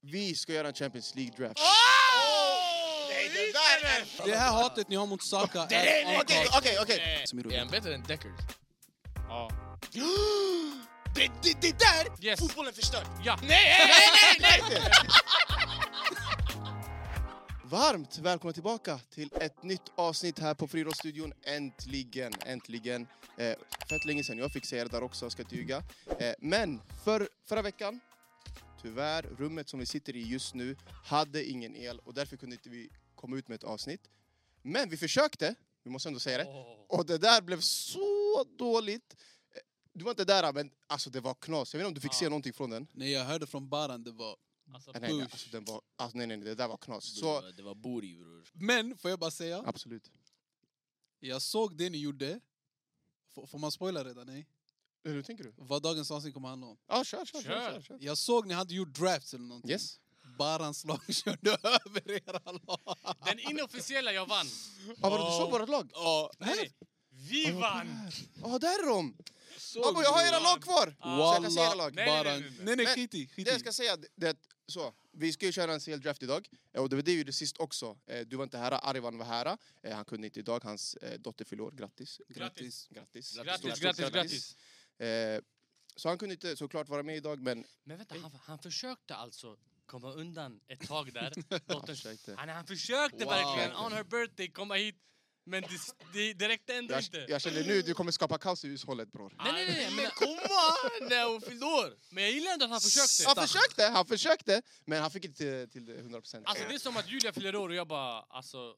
Vi ska göra en Champions League-draft. Nej, det där är... Det här hatet ni har mot Saka Okej, är okej, onkart. okej, okej. Smiro. Är han bättre än Deckard? Ja. Det, det, det där! Yes. Fotbollen förstört. Ja! Varmt välkomna tillbaka till ett nytt avsnitt här på Friidrottsstudion. Äntligen, äntligen. Eh, fett länge sedan jag fick se er där också, jag ska inte ljuga. Eh, men för, förra veckan, tyvärr, rummet som vi sitter i just nu hade ingen el och därför kunde inte vi komma ut med ett avsnitt. Men vi försökte, vi måste ändå säga det. Och det där blev så dåligt. Eh, Du var inte där, men alltså det var knas. Jag vet inte om du fick Ja. se någonting från den? Nej, jag hörde från Baran, det var... Alltså, Nej, nej, Usch. alltså, den var, alltså, nej, nej, nej, det där var knas. Så... Så, Det var Buri bror. Men, får jag bara säga? absolut. Jag såg det ni gjorde. F- får man spoila redan? Nej. Eller Hur tänker du? Vad dagens avsnitt kommer handla om. Ja, kör, kör, kör. Kör. kör, kör. Jag såg ni hade gjort drafts eller någonting. Yes. Barans lag körde över era lag. den inofficiella jag vann. Ja, vadå, du såg vårt lag? Ja. Nej, vi Oh, vann! Ja, där är de! Abo, jag har era lag kvar! Så jag kan se era Walla, Ah, lag. Nej, nej, Baran. nej, nej. Nej, nej, Men skit i. Skit Det jag i. ska säga, det är att, så, vi ska ju köra en CL-draft idag. Eh, Och det var det ju det sist också. Eh, Du var inte här, Arvan var här. Eh, Han kunde inte idag, hans eh, dotter fyller år. Grattis. Grattis. Grattis. Stort, Grattis, stort grattis, grattis. Eh, Så han kunde inte såklart vara med idag, men... Men vänta, han, han försökte alltså komma undan ett tag där. Han Dottern, försökte. han, han försökte Wow. verkligen on her birthday komma hit. Men det, det, det räckte ändå Jag, inte. jag känner nu, du kommer skapa kaos i hushållet bror. Nej, nej, nej, men komma när hon fyllde år. Men jag gillar ändå att han försökte. Han försökte, han försökte, men han fick inte till- till 100 procent. Alltså det är som att Julia fyller år och jag bara, alltså,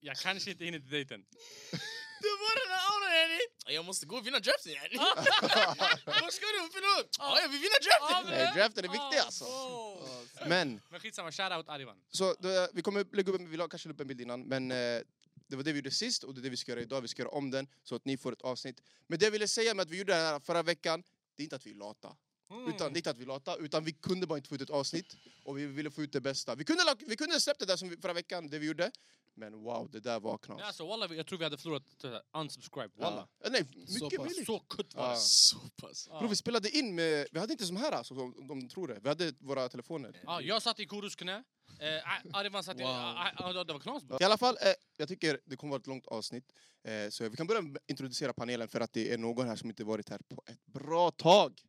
jag kanske inte hinner till dejten. Det var den här auran yani! Jag måste gå och vinna draften yani! Vad ska du? Förlåt! Ja, jag vill vinna draften! Eh, draften är viktig alltså. Oh. Men, Men skitsamma, shoutout Arivan. så då, vi kommer lägga upp, vi la kanske upp en bild innan, men eh, det var det vi gjorde sist och det är det vi ska göra idag. Vi ska göra om den så att ni får ett avsnitt. Men det jag ville säga med att vi gjorde det här förra veckan, det är inte att vi är lata. Mm. Utan, det är inte att vi är lata, utan vi kunde bara inte få ut ett avsnitt och vi ville få ut det bästa. Vi kunde, la- vi kunde släppt det där som vi, förra veckan, det vi gjorde, men wow, det där var Nej, knas. alltså walla, vi- jag tror vi hade förlorat såhär, unsubscribe. Walla. Ja. Eh, Nej, mycket pass. möjligt. Så kutt var Ja. det. Så pass. Ja. Bro, vi spelade in med... Vi hade inte som här, alltså, som de tror det. Vi hade våra telefoner. Ja, jag satt i Kurus knä. Eh, A- Arivan satt i... Wow. A- A- A- Det var knas bara. I alla fall, eh, jag tycker det kommer vara ett långt avsnitt. Eh, så vi kan börja med att introducera panelen för att det är någon här som inte varit här på ett bra tag.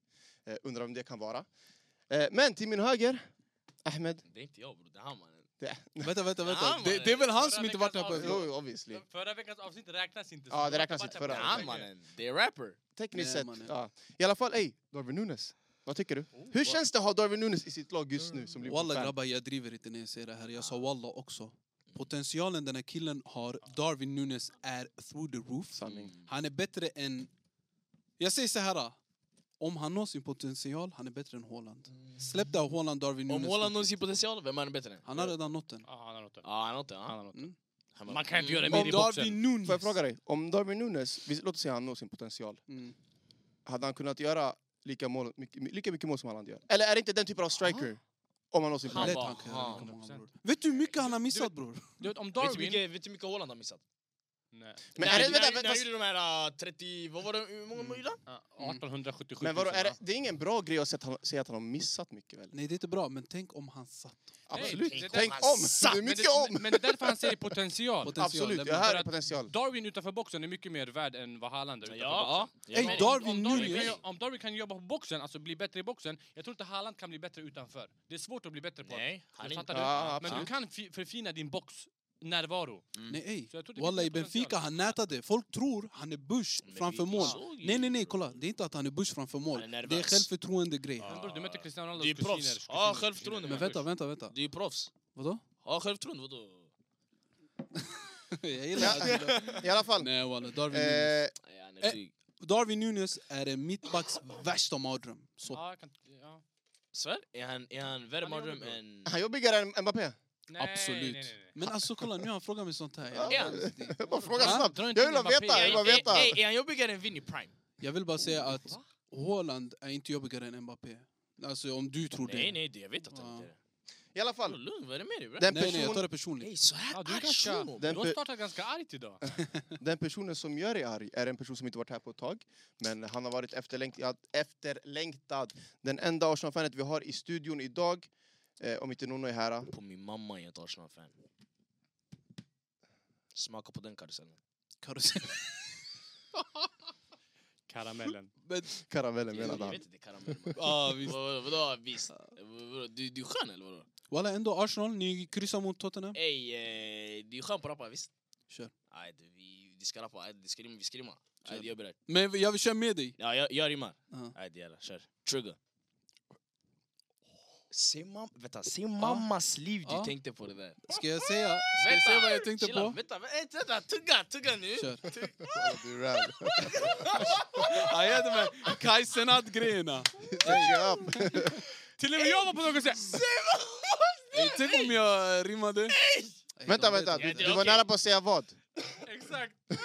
Eh, undrar vem det kan vara. Eh, men till min höger, Ahmed. Det är inte jag bror, det är han mannen. Vänta, vänta, Ja, vänta. mannen. Det, det är väl han Förra som inte veckans varit här på ett avsnitt. tag? Jo, obviously. Förra veckans avsnitt räknas inte. så Ja, det var räknas bara typ inte bara- Det förra. är han mannen. Det är rapper. Tekniskt Nej, sett. mannen. Ja. I alla fall, ey, Darwin Nunes. Vad tycker du? Hur känns det att ha Darwin Nunes i sitt lag just nu som Walla Liverpool-fan? grabbar, jag driver inte när jag säger det här. Jag sa walla också. Potentialen den här killen har, Darwin Nunes, är through the roof. Sanning. Han är bättre än... Jag säger så här. Om han når sin potential, han är bättre än Haaland. Släpp det här Haaland, Darwin Om Nunes. Haaland når sin potential, vem är den bättre än? Han har redan nått den. Ja, han har nått det. Ja, han har inte. Han han. har nått Mm. Han bara- Man kan inte göra Mm. mer Om i boxen. Darwin Nunes... Får jag fråga dig? Om Darwin Nunes, vi- låt oss säga han når sin potential. Mm. Hade han kunnat göra lika, mål, mycket, lika mycket mål som Haaland gör? Eller är det inte den typen av striker? Om han någonsin Han Lätt blir var- han kan göra han, lika många, 100%. bror. Vet du hur mycket han har missat bror? Du vet, om Vet du Darwin... mycket- vet du hur mycket Haaland har missat? Nej. Men Nej, är det, när- vänta, när vänta, han gjorde de här äh, 30... Vad var det? Hur många mål gjorde han? Ja, 1877 men vadå, är det, tusen, det är ingen bra grej att säga att han, säga att han har missat mycket väl? Nej det är inte bra, men tänk om han satt. Nej, Absolut. det- det- Tänk han om! satt, Det är va? Men mycket det- om! Men men det är därför han säger potential. Potential, Absolut, lämna. det här För är att potential. Darwin utanför boxen är mycket mer värd än vad Haaland är utanför Ja. boxen. Ey, Men Ja. om- Darwin om, Darwin Nunez. kan, jo- om Darwin kan jobba på boxen, alltså bli bättre i boxen, jag tror inte Haaland kan bli bättre utanför. Det är svårt att bli bättre på. Nej, han är jag inte... fattar det. Ja, men du absolut. kan fi- förfina din box närvaro. Nej ey. Så jag tror det Walla finns i en potential. Benfica, han nätade. Folk tror han är Bush Men framför vi mål. såg ju Nej nej det, nej, bror. kolla. Det är inte att han är Bush framför mål. Han är Det är nervös. självförtroende grej. Men bror, du möter Cristiano Det är Ronaldos proffs. kusiner. Ja, kusiner. självförtroende. Men vänta, vänta, vänta. Det är ju proffs. Vadå? Ja, självförtroende. Vadå? Jag gillar att du gillar- I alla fall. Nej walla, Darwin Nunes. Eh, Nej, han är dryg. Darwin Nunes är en mittbacks värsta mardröm. Så Ja, jag kan, ja. Svär? Är han, är han värre Han är mardröm jobbig, än... han är jobbigare än Mbappé. Nej, absolut. Nej, nej, nej. Men alltså kolla, nu har han frågat mig sånt här. Ja. Jag, Jag bara frågar Va? snabbt. Dra Jag inte vill in Mbappé. veta, jag Ey, vill bara ey, veta. ey, Är han jobbigare än Vinny Prime? jag vill bara säga att Va? Haaland är inte jobbigare än Mbappé. Alltså om du tror det. Nej, nej, det, jag vet att han Ja. inte är det. I alla Bror, fall, Lugn, vad är det med dig bror? den nej, nej, jag tar person, det personligt. Ey, så här Ja, du, är arg ganska, shuno. du Den har pe- startat ganska argt idag. den personen som gör dig arg är en person som inte varit här på ett tag. Men han har varit efterlängtad. efterlängtad. Den enda Arsenal-fanet vi har i studion idag. Eh, om inte Nuno är här. På min mamma är jag ett Arsenal-fan. Smaka på den karusellen. Karusell. Karamellen. Men, Karamellen Jag menade vet han. inte, det är karamell. man. ja, visst. Vadå, vadå, visst? Vadå, Du, du är skön eller vadå? Walla, ändå Arsenal, ni kryssar mot Tottenham. Ey, eh, du är skön på att rappa visst? Kör. Nej, du, vi, vi ska rappa, Aj, vi ska rimma, vi ska rimma. Aj, Kör. jag är beredd. Men jag vill köra med dig. Ja, jag, jag rimmar. Ja. Nej, det jävlar, kör. Trigger. Se, mam vänta, se mammas liv du Ja. tänkte på det där. Ska jag säga, ska jag säga vad jag tänkte chilla, på? Vänta, vänta, vänta, tugga, tugga nu. Kör. Ja, Du är rad. Ja, jag hade med Kai Senat-grejerna. Check it up. Till och med jag var på något sätt. Ey, Tänk om jag eh, rimmade. Ey, Vänta, de vet vänta. inte. Du, Ja, det är du var okej. nära på att säga vad. Exakt. Ey.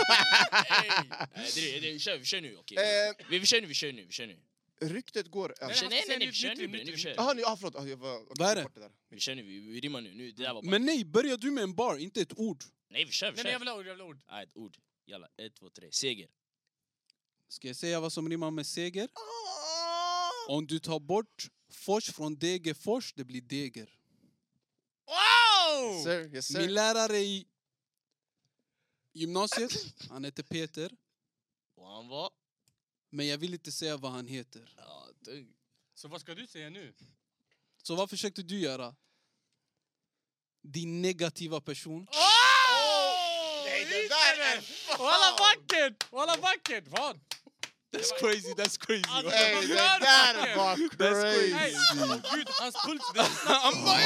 Nej, det är- det är- Kör, vi kör nu. okej. Eh. Vi, vi kör nu, vi kör nu, vi kör nu. Ryktet går... Ja, Nej, shit. nej, nej, Säg nej, nu, vi kör nytt, nu nytt, bre, nu, nytt. vi kör. Jaha, nu- ah, förlåt. Ah, jag var, okej, Vad är det? bort där. Vi kör nu, vi, vi rimmar nu. nu. Det där var bara... Men nej, börja du med en bar, inte ett ord. Nej, vi kör, vi Nej, men jag kör. vill ha ord, jag vill ha ord. Nej, ett ord. Jalla, ett, två, tre. Seger. Ska jag säga vad som rimmar med seger? Om du tar bort fors från Degerfors, det blir deger. Wow! Yes, sir. Yes, Min sir. lärare i gymnasiet, han heter Peter. Och han var... Men jag vill inte säga vad han heter. Ja, tung. Så vad ska du säga nu? Så vad försökte du göra? Din negativa person. Nej, det där är... Walla vackert! Walla vackert! Vad? That's crazy, that's crazy. Alltså, Nej, vad det gör där vackert? var Hey, crazy! oh, gud, hans puls den Alla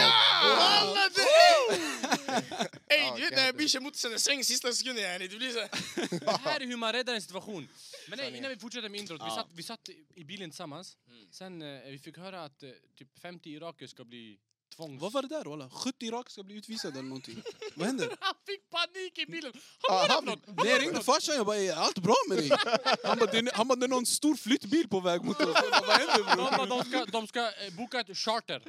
det! Ey, Ja, du vet när gärna. jag blir kör mot sina sväng sista sekunden yani, det blir så här... Det här är hur man räddar en situation. Men nej, innan vi fortsätter med introt. Vi Ja. satt, vi satt i bilen tillsammans. Mm. Sen eh, vi fick höra att eh, typ 50 irakier ska bli tvångs... Vad var det där walla? 70 Irak ska bli utvisade eller någonting. Vad händer? Han fick panik i bilen! Ah, Han han- var något! Nej, jag ringde farsan jag bara "Är allt bra med dig? Han bara det är, han bara, det är någon stor flyttbil på väg mot oss. Jag bara, Vad händer De, bror? bara, de ska, de ska eh, boka ett charter.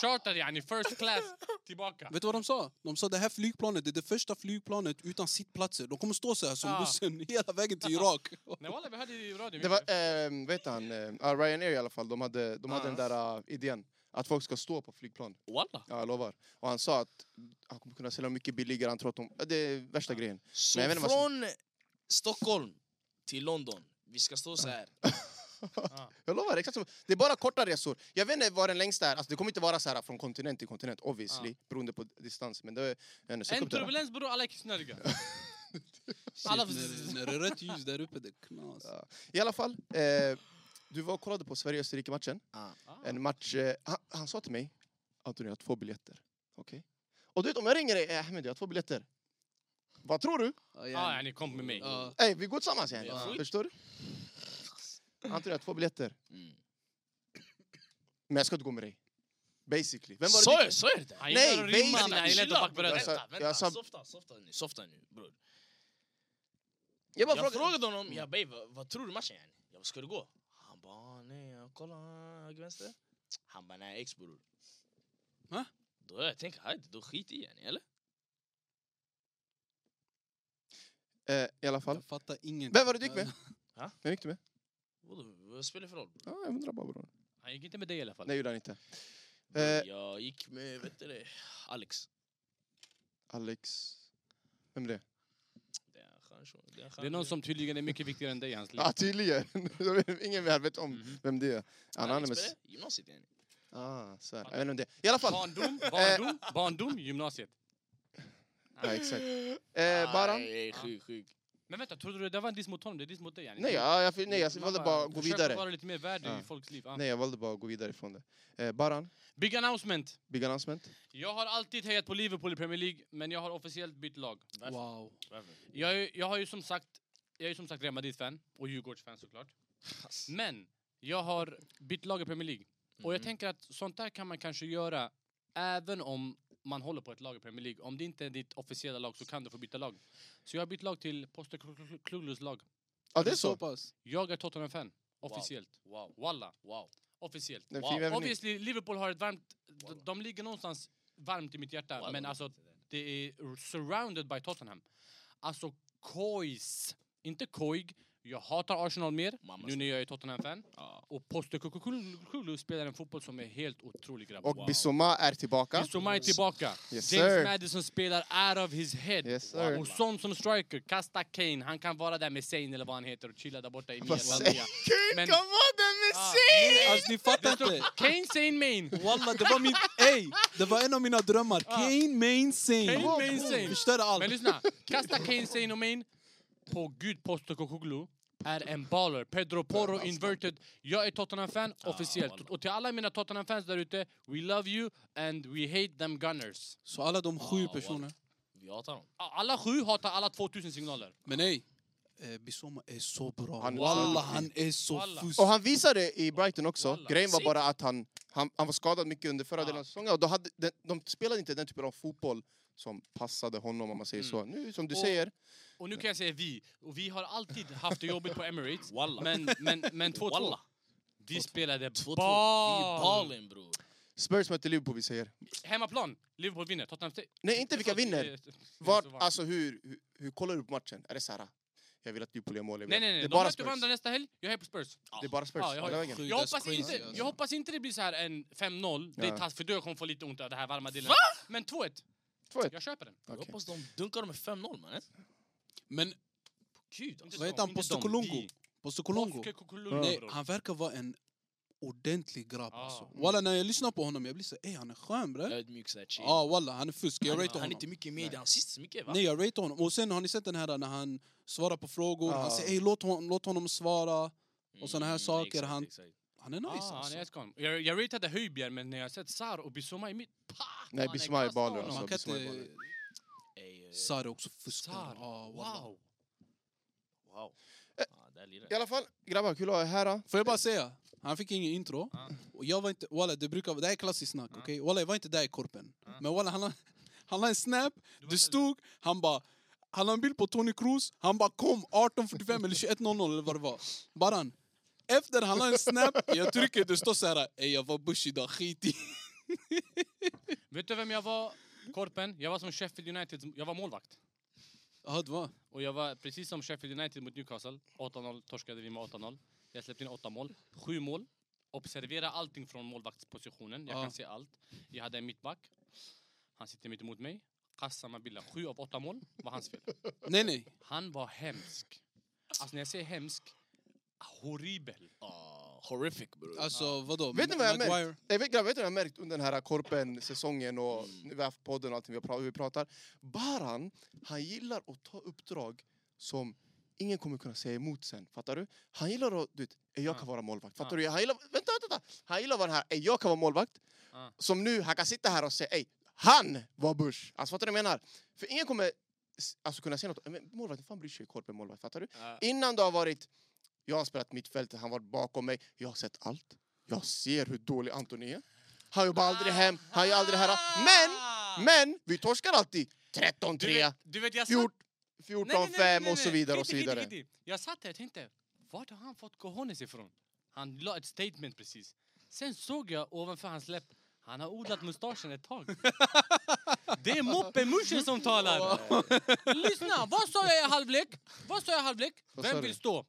Charter yani, first class tillbaka. Vet du vad de sa? De sa det här flygplanet det är det första flygplanet utan sittplatser. De kommer stå så här som Ah. bussen hela vägen till Irak. Nej walla, vi hörde i radion. Det var, eh, vet han, eh, ah, Ryanair i alla fall, de hade, de hade Ah. Ja. den där eh, idén att folk ska stå på flygplan. Walla! Ja, jag lovar. Och han sa att han kommer kunna sälja mycket billigare, han tror att de... Det är värsta grejen. Så Men jag vet inte vad från Stockholm till London, vi ska stå så här. Jag lovar, exakt så. Det är bara korta resor. Jag vet inte vad den längsta är. Alltså, det kommer inte vara så här från kontinent till kontinent, obviously. Beroende på distans. Men det är... jag vet inte, sök En upp det där. turbulens beror alla är kissnödiga. Shit, Alla... när, när det är rött ljus där uppe det är knas. Ja. I alla fall, eh, du var och kollade på Sverige-Österrike-matchen. Ah. Ah. En match... Eh, han, han sa till mig, Antonio, jag har två biljetter. Okej? Och du vet, om jag ringer dig, eh, Ahmed, jag har två biljetter. Vad tror du? Ja, Ah, ja. yani, kom med mig. Ja. Ey, vi går tillsammans igen. Ja. Förstår du? Antonio, jag har två biljetter. Mm. Men jag ska inte gå med dig. Basically. Vem var det? Sa jag- sa jag det? Han gillar Nej, att rimma, basically. Alltså- han gillar inte att Chilla, backa bror. Jag bröder. sa- Vänta, jag vänta. sa- Softa, softa nu, softa nu bror. Jag bara Jag frågade. frågade honom, jag babe, vad, vad tror du matchen är? Jag bara, ska du gå? Han bara, nej, jag kollar höger vänster. Han bara, nej, ex bror. Va? Då jag tänker, hajde, då skit i henne, eller? Eh, I alla fall. Jag fattar ingenting. Vem var det du gick med? Ha? Vem gick du med? Vadå, vad spelar det för roll? Ja, jag undrar bara bror. Han gick inte med dig i alla fall. Nej, gjorde han inte. bror? Eh, Jag gick med, vet du det, Alex. Alex... Vem är det? Det är en skön tjo- det är en skön Det är någon tjej. som tydligen är mycket viktigare än dig i hans liv. Ja, ah, tydligen. Ingen mer vet om vem det är. Alex Anonymous. spelar Gymnasiet yani. Ah, så här. Jag vet inte om det är. I alla fall. Barndom, barndom, eh, barndom, gymnasiet. Ja, exakt. Eh, Baran? Nej, sjuk, sjuk. Men vänta, trodde du det var en diss mot honom? Det är diss mot dig yani. Nej, ja, jag, nej, jag Man valde bara att gå försöker vidare. vara lite mer värd Ja. i folks liv. ja. Nej, jag valde bara att gå vidare ifrån det. Eh, Baran, Big announcement! big announcement. Jag har alltid hejat på Liverpool i Premier League, men jag har officiellt bytt lag. Wow. Varför? Jag, är- jag har ju som sagt, jag är ju som sagt Real Madrid-fan, och Djurgårds-fan såklart. Men jag har bytt lag i Premier League. Och Mm. jag Mhm. tänker att sånt där kan man kanske göra även om man håller på ett lag i Premier League. Om det inte är ditt officiella lag så kan du få byta lag. Så jag har bytt lag till Poster Clueless lag. Ja, ah, det är så. pass. Jag är Tottenham-fan. Officiellt. Wow, Walla. wow. Officiellt. Det är en Wow. fin vävning. Obviously, Liverpool har ett varmt... Walla. De, de ligger någonstans varmt i mitt hjärta. Wow, men det- alltså, det är surrounded by Tottenham. Alltså, Kois. Inte Koig. Jag hatar Arsenal mer, Mamma nu när jag är Tottenham-fan. Ja. Och Poste Kukukulu spelar en fotboll som är helt otrolig grabbar. Och Bissouma är tillbaka. Bissouma är tillbaka. Yes, James sir. Madison spelar out of his head. Yes, sir. Och sån som striker, kasta Kane. Han kan vara där med Sane eller vad han heter och chilla där borta i Ah, Mia Vad säger Valdea. Kul, Men- kom vad den med Ah. sig! Alltså ni fattar inte. Kane, Sane, Main! Walla, det var min... Ey! Det var en av mina drömmar. Kane Main Sane. Kane Main Sane. Förstörde allt. Men lyssna, kasta Kane, Sane och Main på gud Poste Kukulu är en baller. Pedro Porro inverted. Jag är Tottenham-fan Ah, officiellt. Och till alla mina Tottenham-fans där ute, we love you and we hate them gunners. Så alla de sju Ja, personer. walla. Vi hatar honom. Alla sju hatar alla 2000 signaler. Men nej. Eh, Bissoma är så bra. Han- Walla, han är så Walla. fusk. Och han visade i Brighton också. Walla. Grejen var Sick. bara att han, han, han var skadad mycket under förra Ja. delen av säsongen. Och då hade, de, de spelade inte den typen av fotboll som passade honom, om man säger så. Nu, som du Mm. Och- säger, Och nu kan jag säga vi. Och vi har alltid haft det jobbigt på Emirates. Walla. Men, men, men 2-2. Walla. Vi spelade 2-2. Vi ball. balen bror. Spurs möter Liverpool, vi säger. Hemmaplan. Liverpool vinner. Tottenham City. Nej, inte vilka Förlåt, vinner. eh, Vart, förlåt, alltså, hur, hur, hur kollar du på matchen? Är det så här, jag vill att Liverpool gör mål? jag vill Nej, att- nej, nej. Det är De bara möter Spurs. varandra nästa helg. Jag är på Spurs. Det är bara Spurs. Ja, jag har- hela vägen. Sjukt. Jag hoppas, Sjukt. inte, Ja, ja. jag hoppas inte det blir så här en 5-0. Det Ja. är taskigt, för då jag kommer få lite ont av det här varma delen. Men 2-1. 2-1. Jag köper den. Jag Okej. hoppas de dunkar dem med 5-0 mannen. Men Gud alltså. Inte vad heter han? de, inte de, Postekolongo? vi. Postekolongo? Oskar Kukulungo, Nej, bror. han verkar vara en ordentlig grabb Ah. alltså. Walla, när jag lyssnar på honom jag blir så ey han är skön bre. Ödmjuk såhär chill. Ja walla, han är fusk. Jag Eh, han, ratear han är honom. inte mycket i media, han syns så mycket va? Nej, jag ratear honom. Och sen har ni sett den här när han svarar på frågor. Ja. Han säger ey låt, hon, låt honom svara. Mm, och såna här saker, exakt, han- exakt. Han är nice ah, alltså. han är skön. Jag, jag rateade Höjbjerg, men när jag sett Sar och Bissoma i mitt... Pa! Nej, Man är Bissouma är kast baller. honom. Alltså, Man kan Bissouma är inte... baller. Ey, eh, Sar är också Sar. fuskare. Ah, walla. Wow! Wow. Eh. Ah, där lirar I alla fall, grabbar, kul att ha er här. då. Får jag bara säga, han fick ingen intro. Ah. Och jag var inte, walla, det, brukar, det här är klassiskt snack, okej? Walla, jag var inte där i korpen. Men walla, han, la- han la en snap, det stod, han bara... Han la en bild på Tony Cruz, han bara kom 18.45 eller 21.00 eller vad det var. Baran. Efter han la en snap, jag trycker, det står så här, ey jag var bush idag, skit i. Vet du vem jag var? Korpen. Jag var som Sheffield United. Jag var målvakt. Jaha, det var. Och jag var precis som Sheffield United mot Newcastle. 8-0 torskade vi med 8-0. Jag släppte in 8 mål. 7 mål. Observera allting från målvaktspositionen. Jag Ja. kan se allt. Jag hade en mittback. Han sitter mitt emot mig. Kassama Billa. 7 av 8 mål var hans fel. Nej, nej. Han var hemsk. Alltså när jag säger hemsk, horribel. Ah, horrific bror. Alltså vadå? Vet ni vad jag Maguire? märkt? Nej, vet, grabbar, vet ni vad jag märkt under den här Korpen-säsongen och Mm. när vi har haft podden och allting vi, har pra- vi pratar? Baran, han gillar att ta uppdrag som ingen kommer kunna säga emot sen. Fattar du? Han gillar att, du vet, "Ey, jag Ja. kan vara målvakt. Ja. Fattar du? Han gillar, vänta, vänta, vänta! Han gillar att vara den här, "Ey, jag kan vara målvakt. Ja. Som nu, han kan sitta här och säga, ey, han var Bush! Alltså fattar du vad jag menar? För ingen kommer s- alltså, kunna säga något, men målvakt, fan bryr sig Korpen-målvakt? Fattar du? Ja. Innan det har varit, jag har spelat mittfält, han var bakom mig, jag har sett allt. Jag ser hur dålig Antoni är. Han jobbar aldrig hem, han gör aldrig det här. Men, men, vi torskar alltid. 13-3, Ah! Du vet, du vet jag satt... 14, Nej, nej, nej, nej, 14-5 nej, och så nej. vidare och Kiti, så kiti, vidare. kiti. Jag satt där och tänkte, vart har han fått cojones ifrån? Han la ett statement precis. Sen såg jag ovanför hans läpp, han har odlat mustaschen ett tag. Det är moppe Muschen som talar! Lyssna, vad sa jag i halvlek? Vad sa jag i halvlek? Vad sa Vem du? vill stå?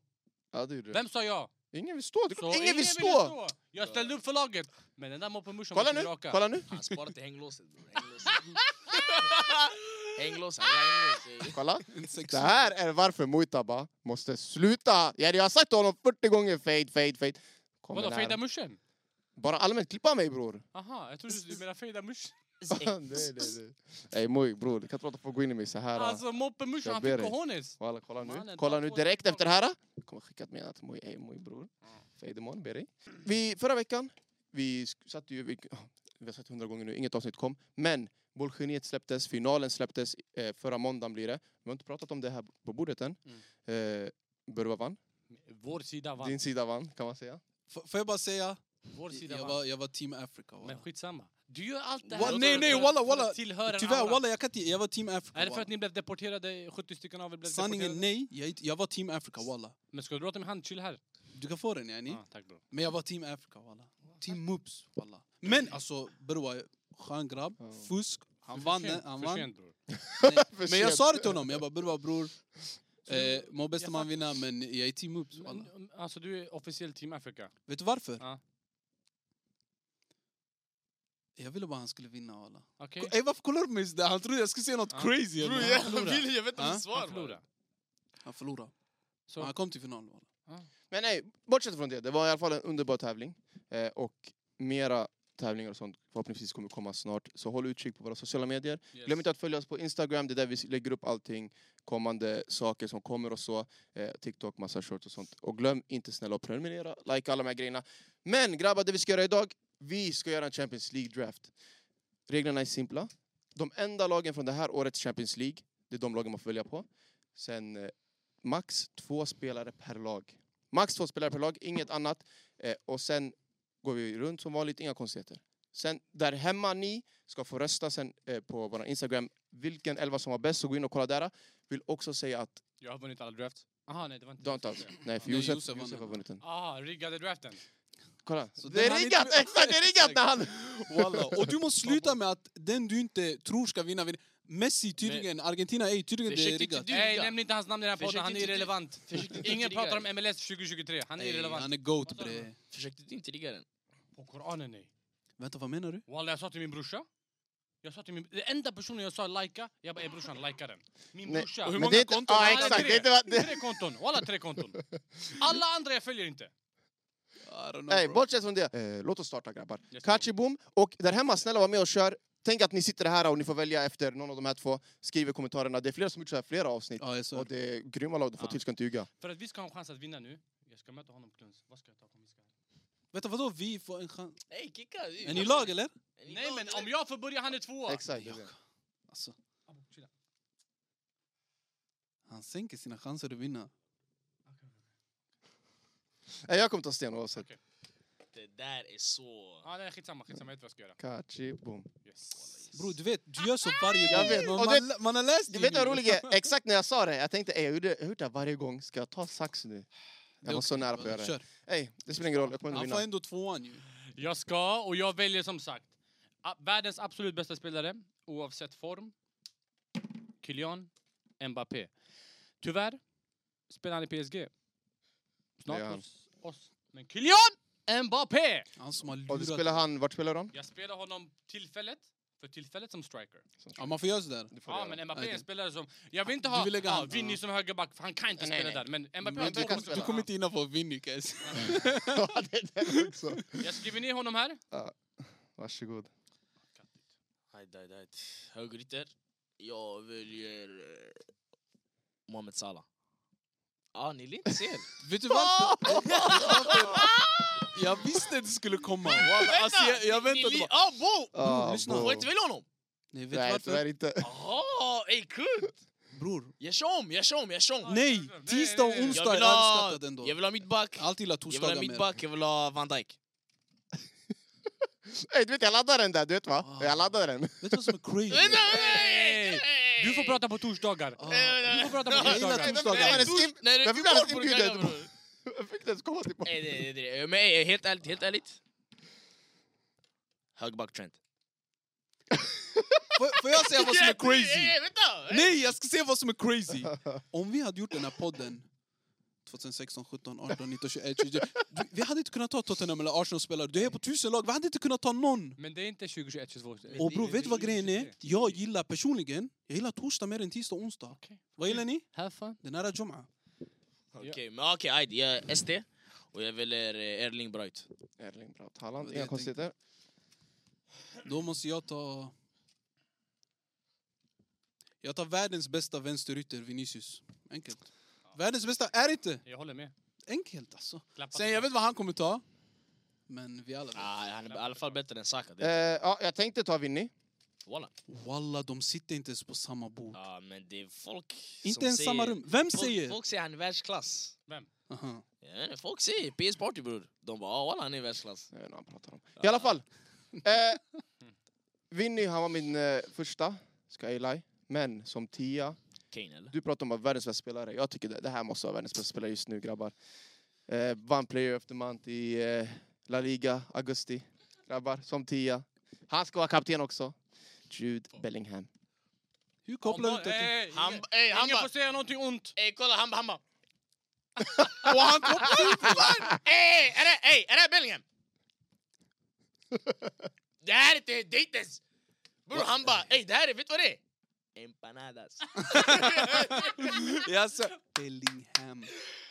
Ja, det gjorde du. Vem sa jag? Ingen vill stå, det är Så klart ingen vill ville stå! Jag ställde upp för laget, men den där moppe Muschen Kolla var nu, tillbaka. kolla nu, Han sparar till hänglåset bror. Hänglåset. Hänglås, han har hänglås. ey. kolla. En Det sexy- här är varför Muitaba måste sluta. Ja, Jag har sagt till honom 40 gånger fade, fade, fade. Kom Vadå, den här. fejda muschen? Bara allmänt klippa mig bror. Aha, jag trodde du menade fejda muschen. nej, nej, nej. Ey Moj bror, du kan inte låta folk gå in i mig så här. Alltså moppe Muschen, Jag han ber fick dig. cojones. Walla, kolla nu. Mannen, kolla ta nu två direkt stycken. efter det här. Jag kommer skicka ett meddelande till Moj, ey Moj bror. Mm. Fejdemon, ber dig. Vi, förra veckan, vi sk- satt ju... Vi, vi har sett hundra gånger nu, inget avsnitt kom. Men Bollgeniet släpptes, finalen släpptes, eh, förra måndagen blir det. Vi har inte pratat om det här på bordet än. Mm. Eh, Burva vann, Vår sida vann. din sida vann kan man säga. F- Får jag bara säga, Vår sida jag vann. var, jag var team Africa. walla. Men skitsamma. Du gör allt det Wa- här nej, nej, walla, för walla. att tillhöra en Tyvärr aura. walla, jag kan inte, jag var team Africa. Är det för walla. att ni blev deporterade? 70 stycken av er blev Sanningen deporterade? nej, jag, är inte- jag var team Africa walla. Men ska du låta min hand chill här? Du kan få den yani. Ah, tack bror. Men jag var team Africa walla. Team Moops walla. Men alltså bror, skön grabb, Ja. fusk. Han vann, den, han vann. bror. Nej, För Men jag sent. sa det till honom, jag bara bror bror. Eh, Må bästa Jag man fattar. vinna, men jag är team Ups. walla. Men, Alltså du är officiell Team Africa. Vet du varför? Ja. Jag ville bara han skulle vinna, walla. Okej? Ey, varför kollar du på mig sådär? Han trodde jag skulle säga något Ja. crazy. Bror, eller? han jag förlorade. vill- jag vet inte Ja, mitt svar. Han man. förlorade. Han förlorade. Så, Men han kom till final, walla. Men nej, bortsett från det. Det var i alla fall en underbar tävling. Eh, och mera tävlingar och sånt förhoppningsvis kommer komma snart. Så håll utkik på våra sociala medier. yes. Glöm inte att följa oss på Instagram, det är där vi lägger upp allting. Kommande saker som kommer och så. Eh, TikTok, massa shorts och sånt. Och glöm inte snälla att prenumerera, like alla de här grejerna. Men grabbar, det vi ska göra idag, vi ska göra en Champions League-draft. Reglerna är simpla. De enda lagen från det här årets Champions League, det är de lagen man får välja på. Sen eh, max två spelare per lag. Max två spelare per lag, inget annat. Eh, och sen går vi runt som vanligt, inga konstigheter. Sen där hemma ni ska få rösta sen eh, på vår Instagram vilken elva som var bäst, så gå in och kolla där. Vill också säga att Jag har vunnit alla drafts. Aha, nej det var inte Don't Josef. out. Nej, för Nej, Josef, Josef, Josef vann har den. vunnit den. Aha, riggade draften. Kolla. Så det den är han riggat! inte- Exakt, det är riggat när han... Walla. Och du måste sluta med att den du inte tror ska vinna vinner. Messi tydligen, Argentina är tydligen Försök det är inte riggat. Du, Nej, rigga. nämn inte hans namn i den här podden, Försök han är inte- irrelevant. försök inte Ingen rigga pratar om dig. MLS 2023, han är Ey, irrelevant. Han är GOAT bre. Försökte du inte ligga den? På Koranen nej. Vänta, vad menar du? Walla, jag sa till min brorsa. Jag sa till min... Den enda personen jag sa likea, jag bara "Ey, brorsan, likea den. Min Nej, brorsa. Och hur men många det är inte- konton Ja, har han? exakt. Det är inte vad... Det... Tre konton, walla tre konton. Alla andra jag följer inte. Nej, bortsett från det. Eh, låt oss starta grabbar. Yes, Kachibom och där hemma, snälla var med och kör. Tänk att ni sitter här och ni får välja efter någon av de här två. Skriv i kommentarerna. Det är flera som gjort så här flera avsnitt. Ja, jag sa Och det. det är grymma lag du får Ja. till, ska inte ljuga. För att vi ska ha en chans att vinna nu, jag ska möta honom på Kluns. Vad ska jag ta på min skall? Vänta, vadå vi får en chans? Nej, kicka. Är ni lag eller? Nej men om jag får börja, han är tvåa! Exakt. det är det. Alltså, Abo, chilla. han sänker sina chanser att vinna. Nej, Eh, Jag kommer ta sten oavsett. Okej. Det där är så... Ja, nej, Ah, skitsamma, skitsamma, jag vet vad jag ska göra. Kachibom. Yes. Bro, du vet, du gör så varje Jag gång. vet, Man, och man, man har läst Du det vet vad nu. roligt är? Exakt när jag sa det, jag tänkte ey, jag gjorde- jag har gjort det här varje gång. Ska jag ta sax nu? Jag var så nära på att göra det. Kör. Ey, det spelar ingen roll, jag kommer ändå Han får vinna. ändå tvåan ju. Jag ska, och jag väljer som sagt a- världens absolut bästa spelare, oavsett form. Kylian Mbappé. Tyvärr spelar han i PSG. Snart Det gör hos oss. Men Kylian Mbappé! Han som har Och du spelar lurat. han, vart spelar han? Jag spelar honom tillfället, för tillfället som striker. Ja, man får göra sådär. Du får Ja, göra. men Mbappé är en Okej. spelare som... Jag vill inte Du ha vill lägga ja, han- Vinny ja. som högerback, för han kan inte Nej, spela nej. där. Men Mbappé Men har du två kan konstiga- Du kommer inte hinna få Vinny guys. Ja, det är det också. Jag skriver ner honom här. Varsågod. Hajd, hajd, hajd. Högerytter. Jag väljer... eh, Mohamed Salah. Ah, ni ler inte ser. Vet du varför? Vet du varför? Jag visste att det skulle komma. Walla, Alltså, jag, jag Ni- ni väntade ler- bara. Ah, bo! Ah, lyssna. wow. Får jag inte välja honom? Nej, vet du Nej, varför? tyvärr inte. Jaha, ey kul! Bror. Jag kör om, jag kör om, jag kör om. Nej, tisdag och Jag vill Jag onsdag är vill ha, överskattat ändå. jag vill ha mittback, Jag har alltid gillat jag vill ha torsdagar mer. mittback, jag vill ha Van Dijk. Ey, du vet jag laddar den där, du vet va? Ah. Jag laddar den. Vet du vad som är crazy? Vänta, nej, nej, nej. Du får prata på torsdagar. Ah, Nej, nej, Du nej. får prata på Jag gillar torsdagar. Nej, men- Nej, torsdagar. det är tors- nej, det Jag är fick den här kvar på det inbjudan. där, bror. Jag fick den ens komma tillbaka. Nej, det- det- det- Men ey, helt ärligt, helt ärligt. Högback Trent. Får- Får jag säga vad som är crazy? Vänta! Nej, jag ska säga vad som är crazy. Om vi hade gjort den här podden 2016, 17, 18, 19, 21, 20. Du, vi hade inte kunnat ta Tottenham eller Arsenal-spelare. Du är på tusen lag. Vi hade inte kunnat ta någon. Men det är inte 2021, 22. Och bror, vet du vad grejen är? Jag gillar personligen, jag gillar torsdag mer än tisdag och onsdag. Okej. Vad gillar ni? Have fun. Den här Jum'a. Okej, men okej, ajde, jag är ST och jag väljer eh, Erling Braut. Erling Braut Haaland, Det inga jag konstigheter. Då måste jag ta... Jag tar världens bästa vänsterytter, Vinicius. Enkelt. Världens bästa är inte! Jag håller med. Enkelt alltså. Klappa. Sen jag vet vad han kommer ta. Men vi alla vet. Ah, han är i alla fall bättre än Saka. Eh, Det, Ja, jag tänkte ta Vinny. Eh. Walla. Walla, de sitter inte ens på samma bord. Ja, men det är folk Inte som ens säger, samma rum. Vem Folk, säger? folk säger han är världsklass. Aha. Jag vet inte, folk säger PS Party bror. De bara ah, walla han är världsklass. Jag vet inte vad han pratar om. I alla fall. Eh, Vinny, han var min eh, första, ska jag lie. Men som tia, Kane eller? du pratar om att världens bästa spelare. Jag tycker det, det här måste vara världens bästa spelare just nu, grabbar. Eh, vann Player of the Month i eh, La Liga, augusti. Grabbar, som tia. Han ska vara kapten också. Jude Bellingham. Hur kopplar du det Ey, Han, ingen- ey, han Ingen bara, får säga någonting ont. ey kolla han bara, han bara. till... Och han kopplar inte! Ey, är det, ey, är det här Bellingham? det här är inte, det är inte ens. Bror han bara, ey det här är, vet du vad det är? Empanadas. Eh. Jaså? Bellingham.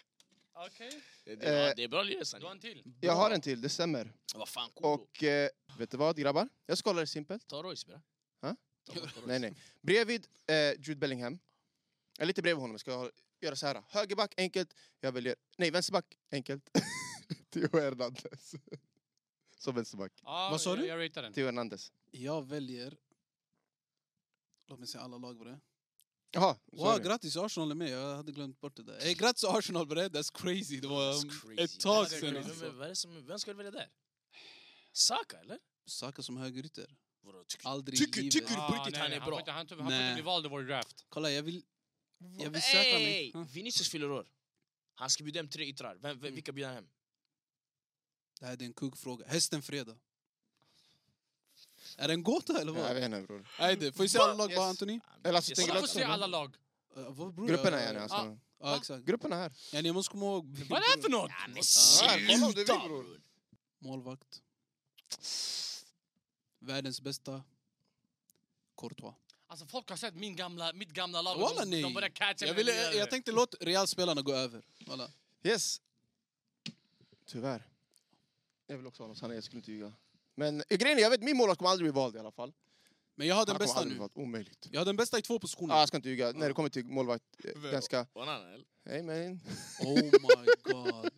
Okej. det, är, Eh, det är bra ljus. Du har en till. Jag har en till, det stämmer. Vad fan, cool. Och eh, vet du vad grabbar? Jag skålar simpelt. Ta Royce bre. Ha? Ta bort Royce. Nej, nej. Bredvid eh, Jude Bellingham. Eller lite bredvid honom ska jag ha- göra så här. Högerback, enkelt. Jag väljer... Nej, vänsterback, enkelt. Theo Hernandez. Som vänsterback. Ja, Vad sa jag- du? Jag ratear den. Theo Hernandez. Jag väljer... Låt mig se alla lag bre. Jaha, Wow, sorry. grattis Arsenal är med, jag hade glömt bort det där. Hey, grattis Arsenal bre, that's crazy. Det var um, That's crazy. ett tag Det är sedan. crazy. alltså. Vem, vad är det som, vem ska du välja där? Saka eller? Saka som högerytter. Vadå, tycker Aldrig Tycker- i livet. tycker- på Ah, riktigt, nej, han nej, är bra. får inte- Han får han får Nej. inte bli vald i vår draft. Kolla, jag vill, jag vill säkra mig. Hey, Ja. Vinicius fyller år. Han ska bjuda hem tre yttrar. Vem, vem, vilka bjuder han hem? Ah, Det här är en kuggfråga. Hästen Fredag. Är det en gåta eller Jag vad? vet inte bror. Nej, det får vi se alla lag Yes. bara Anthony? Eller alltså, Yes. tänker Jag du får att- se alla lag. Uh, vad, bror, Grupperna jag- är ni alltså. Ah. Ja, exakt. Grupperna här. Ja, ni måste komma ihåg... Vad är det här för något? Ja, men kolla om du vill, sluta! bror. bror. Målvakt. Världens bästa. Courtois. Alltså folk har sett min gamla, mitt gamla lag. Walla, de, de nej. börjar catcha Jag, med ville, det nya. jag tänkte låt Real-spelarna gå över. Voilà. Yes. Tyvärr. Jag vill också ha någon sanning, jag skulle inte ljuga. Men eh, grejen är, jag vet min målvakt kommer aldrig bli vald i alla fall. Men jag har den Han kommer bästa aldrig bli nu. vald, omöjligt. Jag har den bästa i två positioner. Ah, jag ska inte ljuga, när det kommer till målvakt, eh, Vem? ganska... Banan, eller? Hey man. Oh my god.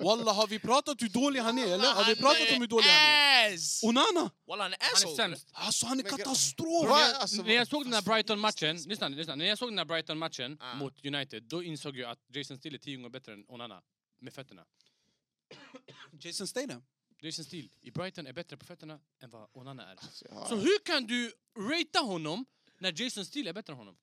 Walla, har vi pratat hur dålig han är eller? Har vi pratat om hur dålig han är? han är? Ass! Onana! Walla han är Han är asshole! sämst. Alltså han är Men gra- katastrof! Va? Alltså, När jag såg den här Brighton-matchen, lyssna, lyssna, när jag såg den här Brighton-matchen Ah. mot United, då insåg jag att Jason Steele är tio gånger bättre än Onana med fötterna. Jason Statham. Jason Steele i Brighton är bättre på fötterna än vad Onana är. Ah. ja, Så hur kan du ratea honom när Jason Steele är bättre än honom?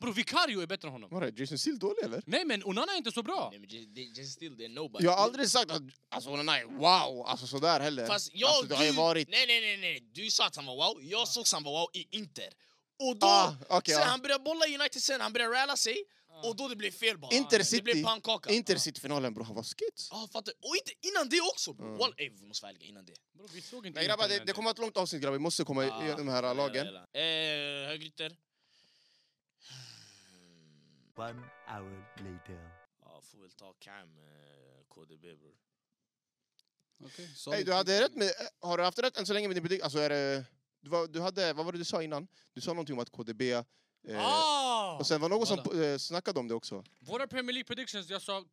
Bror, Vicario är bättre än honom. Vadå, är Jason Seal dålig eller? Nej, men Onana är inte så bra. Nej, men det- det- just still, det är nobody. Jag har aldrig sagt att alltså, hon är nej, wow, alltså sådär heller. Fast jag, alltså, det har ju du- varit... Nej, nej, nej, nej. Du sa att han var wow, jag såg att han var wow i Inter. Och då, Ah, okej, sen ja. han började bolla i United sen, han började ralla sig. Och då det blev fel bara. Inter Det City. blev pannkaka. Inter City-finalen bror, han var skits. Ja, fattar. Och inte innan det också bror. Mm. Wall, ey, vi måste välja innan det. Bror, vi såg inte Nej grabbar, det, Inter det kommer ett långt avsnitt grabbar, vi måste komma i- i Ah, de här lagen. Hela, hela. Eh, högerytter. One hour later. Ja, får väl ta Cam, eh, KDB bror. Okej, Hey, du hade rätt med, eh, har du haft rätt än så länge med din betyg? Alltså är det, du, var, du hade, vad var det du sa innan? Du sa någonting om att KDB... Eh, Ah! Mm, och sen var det någon som Voilà. eh, snackade om det också. Våra Premier League predictions, jag sa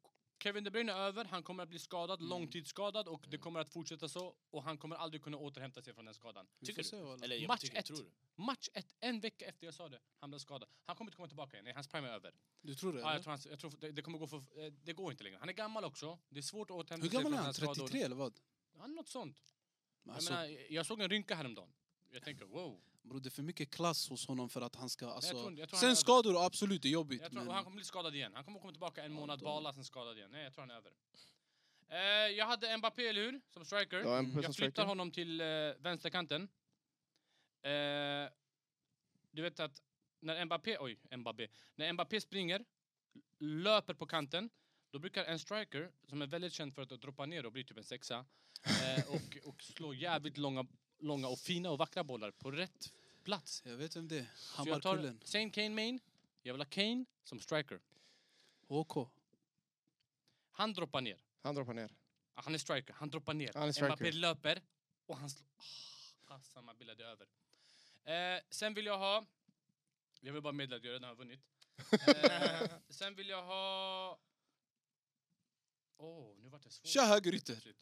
Kevin De Bruyne är över, han kommer att bli skadad, långtidsskadad och det kommer att fortsätta så och han kommer aldrig kunna återhämta sig från den skadan. Tycker du? Eller, jag Match tycker, ett. tror du? Match ett, en vecka efter jag sa det, han blev skadad. Han kommer inte komma tillbaka igen, Nej, hans prime är över. Du tror det? Ja, jag eller? tror han, jag tror det, det kommer gå för... eh, Det går inte längre. Han är gammal också, det är svårt att återhämta Hur gammal är sig från han? 33 eller vad? Han är något sånt. Alltså, Jag, menar, jag såg en rynka häromdagen. Jag tänker wow. bro, det är för mycket klass hos honom för att han ska... Alltså, tror inte- jag tror han är sen över. skador, absolut, det är jobbigt. Jag tror, och han men, kommer bli skadad igen. Han kommer komma tillbaka en Ja, månad, då- bala, sen skadad igen. Nej, jag tror han är över. Eh, jag hade Mbappé, eller hur? Som striker. Ja, en Mm. person Jag striker. flyttar honom till eh, vänsterkanten. Eh, du vet att när Mbappé, oj, Mbappé, när Mbappé springer, löper på kanten, då brukar en striker, som är väldigt känd för att droppa ner och bli typ en sexa, eh, och, och slå jävligt långa, långa och fina och vackra bollar på rätt plats. jag vet vem det är. Så jag tar Hammarkullen. Saint Kane Main, jag vill ha Kane som striker. HK. Han droppar ner. Han droppar ner. Ah, Han är striker, han droppar ner. Han är striker. Mbappé löper och han slår... Ah, samma bild är över. Eh, sen vill jag ha... Jag vill bara meddela att jag redan har vunnit. Eh, sen vill jag ha... Åh, nu vart det svårt. Kör högerytter. Plötsligt.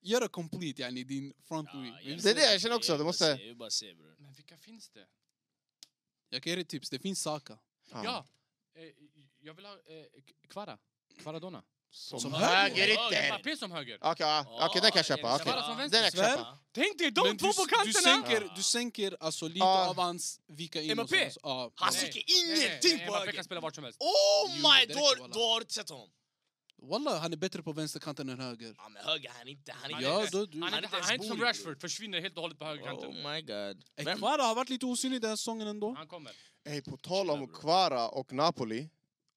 Gör det complete yani, din front Ja, wing. jag Vill- Det är det jag vill känner också, bara du måste- se, Jag vill bara se bror. Men vilka finns det? Jag kan ge dig ett tips, det finns Saka. Fan. Ja! Eh, jag vill ha eh, Kvara. Kvaradona. Som, Som högerytter! högerytter. Okej, Mbappé som höger. ja. Ah, Okej, den kan jag köpa. Ja, Okej. Kvara som Den vänster. kan jag Svär. köpa. Tänk dig de Men två du, på du kanterna! sänker, du sänker alltså lite Ah. av hans vika in. och ah, MAP? sånt. Ja, Han Nej. sticker Nej, nej, ingenting nej, på Mbappé kan höger! spela vart som helst. Oh Jo, my, det då, räcker, har- walla. då har du inte sett honom. ah. Wallah, han är bättre på vänsterkanten än höger. Ja, men höger, han är inte... Han är Han inte Ja, ens- då du... Han Han är, är inte, inte han ens är inte som bolig, Rashford, försvinner helt och hållet på högerkanten. Oh my god. Eh, Vem? Kvara har varit lite osynlig den här säsongen ändå. Han kommer. Ey, på tal Chilla, om bro. Kvara och Napoli.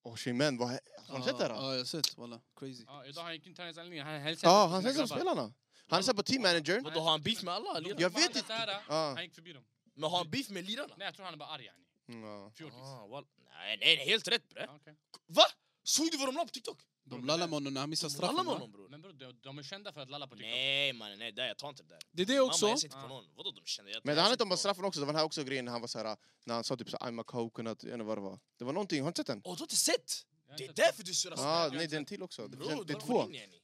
Osimhen, vad... Har ni sett det Ja, här? ah, jag har sett walla. Crazy. Ja, idag har han gick in träningsanläggningen, han hälsade Ja, på han sina hälsar på grabbar. spelarna. Han hälsar på teammanagern. Vadå, har han beef med alla? lirare? Jag De vet andra inte. så här, Ja. Han gick förbi dem. Men har han beef med lirarna? Nej, jag tror han är bara arg yani. Mm, ja. Fjortis. Ah, wall- nej, nej, nej, helt rätt bre. Ja, okej. Va? Såg du vad de la på TikTok? De lallar med honom när han missar straffen. Alla med va? honom bror. Men bror, de, de är kända för att lalla på TikTok. Nej mannen, nej, där, jag tar inte det där. Det är det också. Mamma, jag ser inte på Ah. någon. Vadå de känner? Jag, Men det jag handlar ser inte om på bara straffen också, det var den här också grejen när han var så här, när han sa typ så här, I'm a coconut, jag vet inte vad det var. Det var någonting, har du inte sett den? någon. Åh, du har inte sett? Jag har Det är inte sett därför du surrar Ja, så här. nej den till också. Det, Bror, finns- det är dra två. in, yani.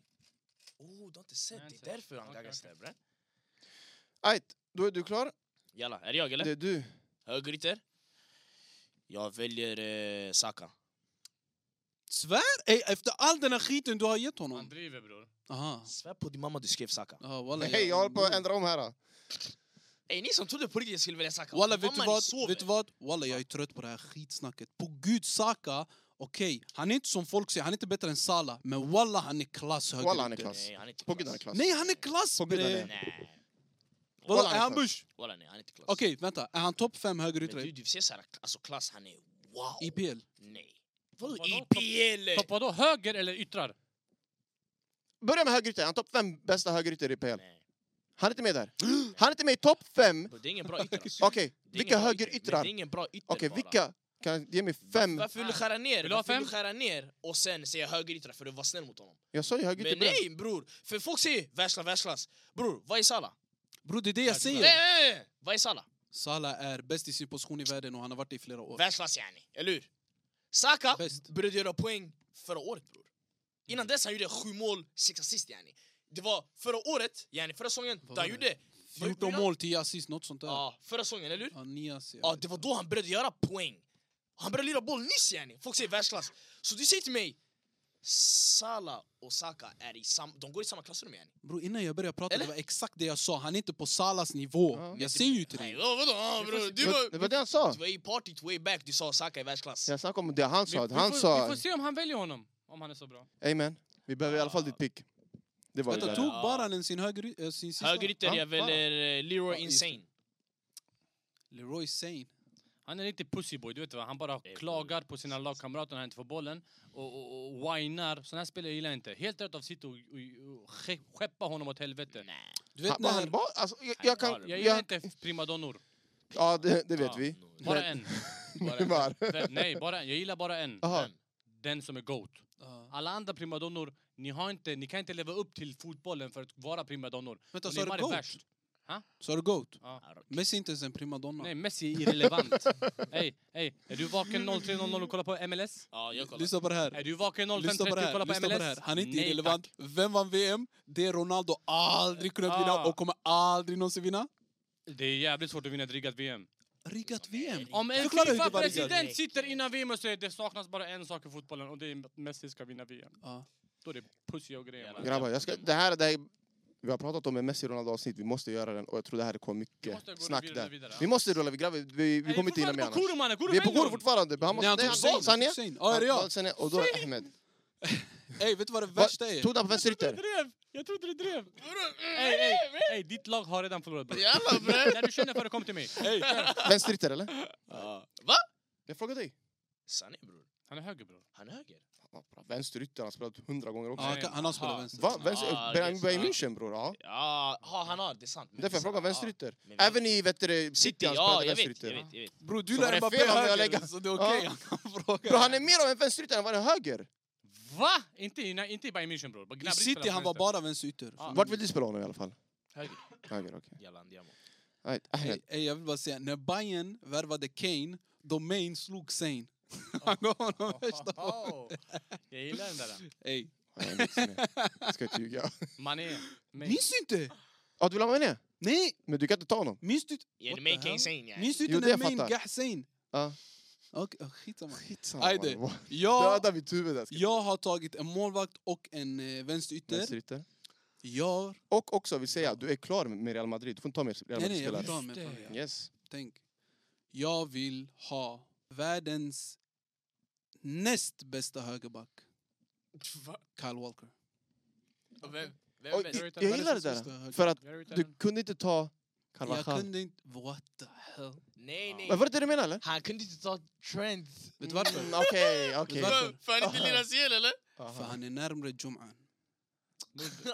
Oh, du har inte Jag sett? har Det inte är därför sett. han Okej, gaggar sig okej. där bre. Ajt, då är du klar? Jalla, är det jag eller? Det är du. Högerytter? Jag väljer eh, Saka. Svär! Ey, efter all den här skiten du har gett Han honom. driver bror. Aha. Svär på din mamma du skrev Saka. Ja, walla, Hej, jag håller på att ändra om här. då. Ey, ni som trodde på riktigt jag skulle välja Saka. Walla, Mamma, vet du ni sover. vad? Vet du vad? Walla, jag är trött på det här skitsnacket. På gud, Saka, okej, han är inte som folk säger, han är inte bättre än Salah. Men walla, han är klass höger Walla, han är ute. klass. Nej, han är inte På gud klass. han är klass. Nej, han är klass På gud, han bre! är. Nej, Walla, Walla, han är är han klass. bush? walla nej, han är inte klass. Okej, vänta. Är han topp fem Men högeryttare du, i du ser såhär, alltså klass, han är wow. IPL? Nej. Vadå Vadå? IPL? Topp vadå? Höger eller yttrar? Börja med högerytter, han är topp fem bästa högerytter i PL. Nej. Han är inte med där. Han är inte med i topp fem. Bro, Det är ingen bra ytter alltså. Okej, vilka Det är ingen bra ytter, men högeryttrar? Det är ingen bra ytter Okej, bara. vilka? Kan ge mig fem? Varför vill du skära ner? Vill du ha Varför vill du fem? skära ner och sen säga högeryttrar för att vara snäll mot honom? Jag sa ju högerytter Men början. nej bror, för folk säger världsklass, världsklass. Bror, vad är Salah? Bror, det är det jag Nej, säger. nej, nej. vad är Salah? Salah är bäst i sin position i världen och han har varit det i flera år. Världsklass yani, eller hur? Saka Bäst. Mm. började göra poäng förra året bror. Innan dess han gjorde sju mål, sex assist yani. Det var förra året, yani förra säsongen, då var han det? gjorde... vad gjorde 14 han? mål, 10 assist, något sånt där. Ja, förra säsongen, eller hur? Ja, nio assist. Ja, det var då han började göra poäng. Han började lira boll nyss yani. Folk säger världsklass. Så du säger till mig, Salah och Saka är i sam- de går i samma klassrum yani. Bro, innan jag började prata, Eller? det var exakt det jag sa. Han är inte på Salas nivå. Ja. Jag säger ju till Nej, dig. vadå, vadå ah, bror? Du Det- Det var var... det han sa. Du var i party way back, du sa Saka är världsklass. Jag snackade om det han sa. vi, Han får, vi sa, får se om han väljer honom. Om han är så bra. amen, vi behöver i alla fall ditt pick. Det var ju Vänta, det. tog Ja. Baranen sin höger, äh, sin sista? Högerytter, Ja, jag väljer eh, Leroy Ja, just det. Insane. Leroy Sane. Han är en riktig pussyboy, du vet vad? Han bara Det är klagar på sina lagkamrater när han inte får bollen och, och, och whinar. Såna här spelare gillar jag inte. Helt rätt av sitt och, och, och ske- skeppa honom åt helvete. Nej. Du vet Han- när... han bara- alltså, jag- Jag kan... Jag gillar jag- inte primadonnor. Ja, det det vet Ja, vi. no. Bara Men- en. Bara- Vem- Nej, bara en. Jag gillar bara en. Jaha. Vem? Den som är GOAT. Ja. Alla andra primadonnor, ni, har inte, ni kan inte leva upp till fotbollen för att vara primadonnor. Vänta, Och sa du Neymar är GOAT? värst. Sa du GOAT? Ja. Messi är inte ens en primadonna. Nej, Messi är irrelevant. Ey, ey, är du vaken 03.00 och kollar på MLS? Ja, jag kollar. Lyssna på det här. Är du vaken 05.30 Lyssna på och det här. kollar på Lyssna på MLS? det här. Han är inte Nej, irrelevant. Vem vann VM? Det är Ronaldo aldrig kunnat vinna Ah. och kommer aldrig någonsin vinna. tack. Det är jävligt svårt att vinna ett riggat VM. Alltså, Riggat VM? Om en Förklara hur det var riggat. Fifa-president sitter innan VM och säger det saknas bara en sak i fotbollen och det är att Messi ska vinna VM. Ja. Då är det pussy och grejer. man. Grabbar, jag ska, det här det här, vi har pratat om en Messi Ronaldo avsnitt, vi måste göra den och jag tror det här kommer Vi mycket måste gå snack vidare, där. vidare. Vi måste rulla, vi, grabbar, vi, vi Ey, kommer inte hinna med fortfarande på annars. Koro, mannen. Koro Vi är på vänder Kor dem. fortfarande, han Nej, måste... han Nej, tog han Zayn. tog Sanja. Ja, är det jag? Sanja och då Ahmed. Ey, vet du vad det Va, värsta är? tog han på vänster Jag trodde ytter? det drev! Jag trodde det drev! Ey, ey, ey, ditt lag har redan förlorat. bror. Jalla bre! När du känner för det, kom till mig. Vänster ytter eller? Ja. Va? Jag frågade dig. Sanne bror. Han är höger bror. Han är höger. Ja, bra, Vänster ytter, han har spelat hundra gånger Ja, också. han, kan, han har spelat Aha. vänster. Va? Vänster, Ah, ah, Bayern det är Bayern München bror, ja. Ja, ha, han har, det är sant. Men Därför jag frågar Ja. vänsterytter. Men vi- Även i vet du, City han ja, spelade jag vet, jag vänsterytter. vet, jag vet. Bror, du Så var lär det Mbappé fel om jag lägger- höger, så det är okej. Ja. Han kan fråga. Bro, han är mer av en vänsterytter än vad han är höger. Va? Inte i, inte i Bayern München bror. Bara I Gnabry spelar City på han var vänster. bara vänsterytter. Ja. Vart vill du spela honom i alla fall? Höger. Höger, okej. Jalla andiamo. Right, Ahmed. Ey, ey, jag vill bara säga, när Bayern värvade Kane, Domain slog Sane. Han gav honom värsta... Jag gillar den där. Ey, Ja, jag minns mer. Jag ska inte ljuga. Mané. Mig. minns du inte? Ja, du vill ha mig ner? Nej, Men du kan inte ta honom. minns du inte? Ja, What det the make hell? insane yani. Minns du Jo, inte det när Main fattar. gah Sane? Ja. Okej, okay, skitsamma. Skitsamma. Ajde. mannen. Jag, Döda mitt huvud där. ska jag har tagit en målvakt och en eh, jag- vänsterytter. Vänsterytter. Jag... Och också vill säga, du är klar med Real Madrid. Du får inte ta mer Real Nej, nej, jag Madrid-spelare. vill ta Just med det. Fabian. Yes. Tänk. Jag vill ha världens näst bästa högerback. Va? Kyle Walker. Vem, vem Oj, vet? jag jag gillar det Världens bästa där. höger- För att Jag är ute du nu. kunde inte ta Jag Carvajal. kunde inte... What the hell? Nej, nej. Men var det det du menade eller? Han kunde inte ta trend. Vet du varför? Mm, Okej, okej. Varför? För han inte lirar sig eller? För Aha. han är närmare Jum'an.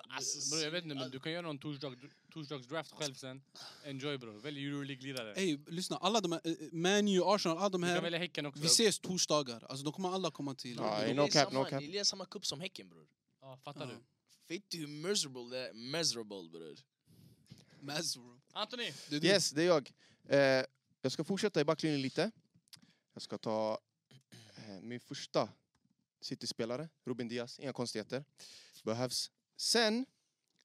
Alltså, Bror jag vet inte men du kan göra någon torsdag, torsdagsdraft själv sen. Enjoy bror, välj Euroleague-lirare. Ey, lyssna. Alla de här, eh, Man U, Arsenal, alla de Du kan här. välja Häcken också. Vi ses torsdagar. Alltså de kommer alla komma till... Ja, Ni no lirar cap, no samma- cap. Ni lirar samma kupp som Häcken bror. Ja, fattar du? Ja. Vet du hur miserable det är? Miserable bror. Mazrub. Anthony! Det är du. Yes, det är jag. Eh, jag ska fortsätta i backlinjen lite. Jag ska ta eh, min första City-spelare, Ruben Diaz. Inga konstigheter. Behövs. Sen,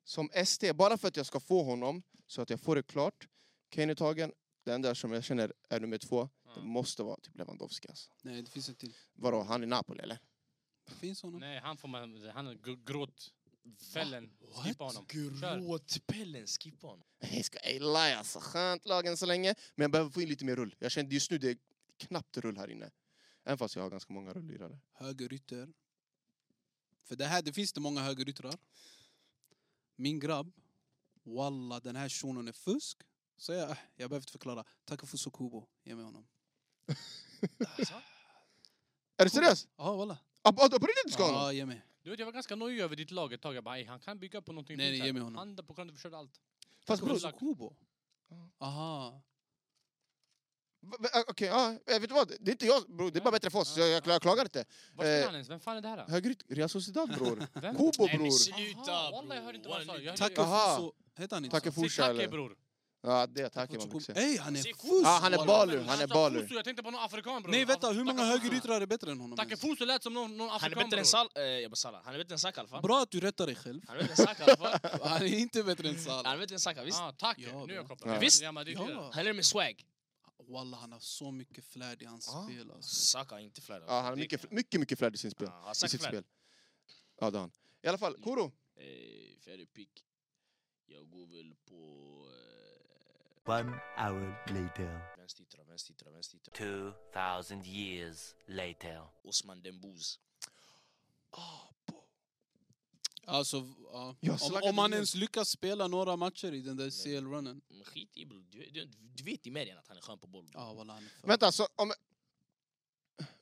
som ST, bara för att jag ska få honom, så att jag får det klart. Kane är tagen. Den där som jag känner är nummer två, det Mm. måste vara typ Lewandowski. Alltså. Nej, det finns en till. Vadå, han är Napoli eller? Det finns honom. Nej, han får man... Han är gr- gråtfällen. Skippa honom. Kör. Gråtpellen, skippa honom. Jag ska ej lie alltså. Skönt lag än så länge. Men jag behöver få in lite mer rull. Jag känner just nu det är knappt rull här inne. Även fast jag har ganska många rullirare. Högerytter. För det här, det finns det många högeryttrar. Min grabb. Walla, den här shunon är fusk. Så jag, äh, jag behöver inte förklara. Takafuso Kubo, ge mig honom. Är du seriös? Ja, walla. Ah, på på riktigt du ska ha honom? Ja, ge mig. Du vet jag var ganska nojig över ditt lag ett tag. Jag bara, "Ey, han kan bygga på någonting Nej, fint nej, här." ge mig honom. Han där på grund förstörde allt. Fast bror, Takafuso Kubo? Ja. Aha. v- v- eh, okej, ja, vet du vad? Det är inte jag, bror. Det är bara bättre för oss. Jag, jag, jag klagar inte. Var spelar Eh, han ens? Vem fan är det här? då? Högeryt, Real Sociedad bror. Vem? Kobo men bror. sluta Aha, bror. wallah, jag hörde inte vad han sa. Jag hörde- Aha. Takafuso... Heter han inte Taka så? Sitt Fusha Tacke eller? bror. Ja, det tackar man Takafuso också. Kubo. Ey, han är Se, Kubo. fusk! Ja, han är walla. baller. Han är sa baller. Alltså, Fuso, Jag tänkte på någon afrikan bror. Nej, vänta. Hur många Taka- högeryttrar är bättre än honom? Tacke ens? Fuso lät som någon, någon Han är afrikan bättre än bror. Salah. Eh, jag bara Salah. Han är bättre än Saka i alla fall. Bra att du rättar dig själv. Han är bättre än Saka i alla fall. Han är inte bättre än Han Salah. är bättre än Saka, visst? Ja, tack. Ja, nu är bra. jag kopplad. Ja. Visst? Ja, men det är ju det. Ja. Han är med swag. Walla, han har så mycket flärd i hans Ah. spel. Alltså. Saka är inte flärd. Ja, han har mycket, mycket, mycket flärd i sin spel. Ja, har I Saka sitt flärd? spel. Ja, det har han. I alla fall, Koro. Eh, Fjärde pick. Jag går väl på... One hour later. Eh, vänsteryttra, vänsteryttra, vänsteryttra. 2,000 years later. Osman Dembuz. Alltså, ja. Jag om, slaggade om han ner. ens lyckas spela några matcher i den där CL-runnen. Men skit i bror. Du, du, du vet i medien att han är skön på boll. Ja, walla, han är för... Vänta, så om, Om jag